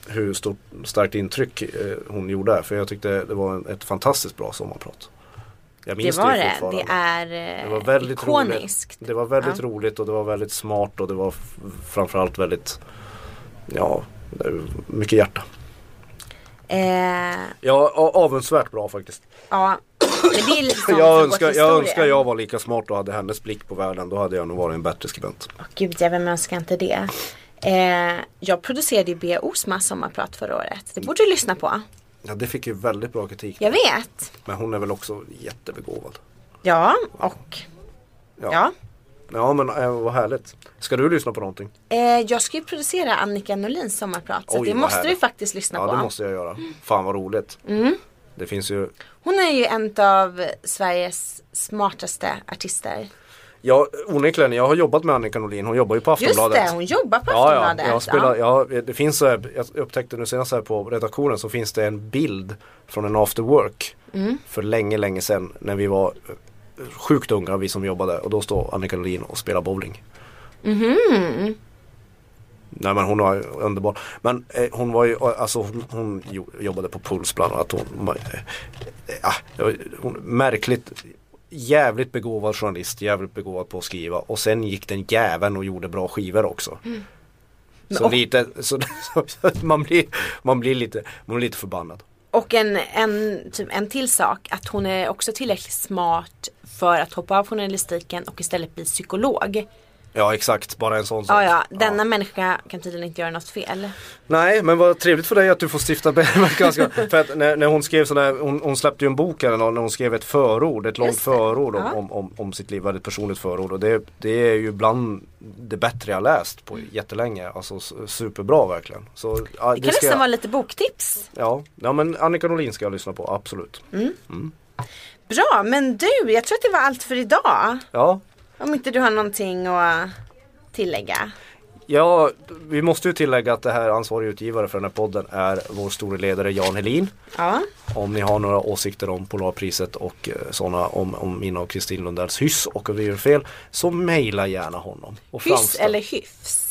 S3: hur stort, starkt intryck eh, hon gjorde. här, För jag tyckte det var en, ett fantastiskt bra sommarprat. Jag
S2: Det
S3: minns det,
S2: var
S3: ju
S2: det. Det
S3: fortfarande.
S2: är
S3: Det
S2: eh,
S3: var väldigt
S2: ikoniskt.
S3: roligt. Det var väldigt
S2: Ja.
S3: roligt och det var väldigt smart och det var f- framförallt väldigt Ja, det är mycket hjärta.
S2: Eh,
S3: Ja, a- avundsvärt bra faktiskt.
S2: Ja, men det
S3: *laughs*
S2: är liksom
S3: Jag önskar, jag önskar jag var lika smart och hade hennes blick på världen. Då hade jag nog varit en bättre skribent.
S2: Oh, gud, jag vem önskar inte det? Eh, jag producerade ju B. Osmas sommarprat förra året. Det borde du lyssna på.
S3: Ja, det fick ju väldigt bra kritik.
S2: Jag vet.
S3: Men hon är väl också jättebegåvad.
S2: Ja, och ja.
S3: Ja men eh, vad härligt. Ska du lyssna på någonting?
S2: Eh, jag ska ju producera Annika Norlins sommarprat. Så
S3: Oj,
S2: det
S3: vad
S2: måste
S3: härligt.
S2: du faktiskt lyssna
S3: Ja
S2: på.
S3: det måste jag göra. Fan vad roligt.
S2: Mm.
S3: Det finns ju,
S2: Hon är ju en av Sveriges smartaste artister.
S3: ja onekligen jag har jobbat med Annika Norlin, hon jobbar ju på
S2: Just
S3: Aftonbladet.
S2: det, hon jobbar på
S3: Ja,
S2: Aftonbladet.
S3: ja, jag spelar, ja, det finns så här, jag upptäckte nu senast här på redaktionen så finns det en bild från en after work
S2: Mm.
S3: för länge, länge sedan när vi var eh, sjukt unga vi som jobbade och då står Annika Norlin och spelar bowling. Nej men hon var underbar. Men eh, hon var ju, alltså hon, hon jo- jobbade på Puls bland annat. Hon, ma- eh, ah, det var- hon, märkligt, jävligt begåvad journalist, jävligt begåvad på att skriva. Och sen gick den jäveln och gjorde bra skivor också. Så
S2: Mm. och-
S3: lite, så, *laughs* så, att man, blir, man, blir lite, man blir lite förbannad.
S2: Och en, en, typ en till sak, att hon är också tillräckligt smart för att hoppa av journalistiken och istället bli psykolog.
S3: Ja exakt, bara en sån sak.
S2: Ja, ja, denna människa kan tydligen inte göra något fel.
S3: Nej men vad trevligt för dig att du får stifta *laughs* bekantskap. för att när, när hon skrev sådär, hon, hon släppte ju en bok här när hon skrev ett förord, ett långt
S2: Just det.
S3: förord om,
S2: Ja.
S3: om, om, om sitt liv, väldigt personligt förord. Och det, det är ju bland det bättre jag läst på jättelänge. Alltså s- superbra verkligen. Så, ja,
S2: Mm. Det
S3: det
S2: kan
S3: ska
S2: nästan
S3: jag,
S2: vara lite boktips. Mm.
S3: ja. ja men Annika Norlin ska jag lyssna på, absolut.
S2: Bra, men du, jag tror att det var allt för idag.
S3: Ja,
S2: Om inte du har någonting att tillägga.
S3: Ja, vi måste ju tillägga att det här ansvarig utgivare för den här podden är vår store ledare Jan Helin.
S2: Ja,
S3: Om ni har några åsikter om Polarpriset och eh, sådana om, om mina och Kristin Lundells hyss och om vi gör fel så mejla gärna honom. Och
S2: hyss
S3: framställ-
S2: eller hyfs.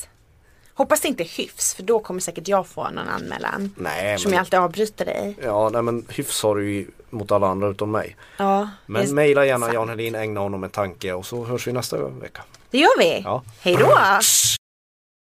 S2: Hoppas det inte är hyfs, för då kommer säkert jag få någon anmälan.
S3: Nej,
S2: Som
S3: men,
S2: jag alltid avbryter dig.
S3: ja, nej, men hyfs har du ju mot alla andra utom mig.
S2: Ja,
S3: Men
S2: det,
S3: mejla gärna Jan Helin, ägna honom en tanke och så hörs vi nästa vecka.
S2: det gör vi.
S3: Ja.
S2: Hej då!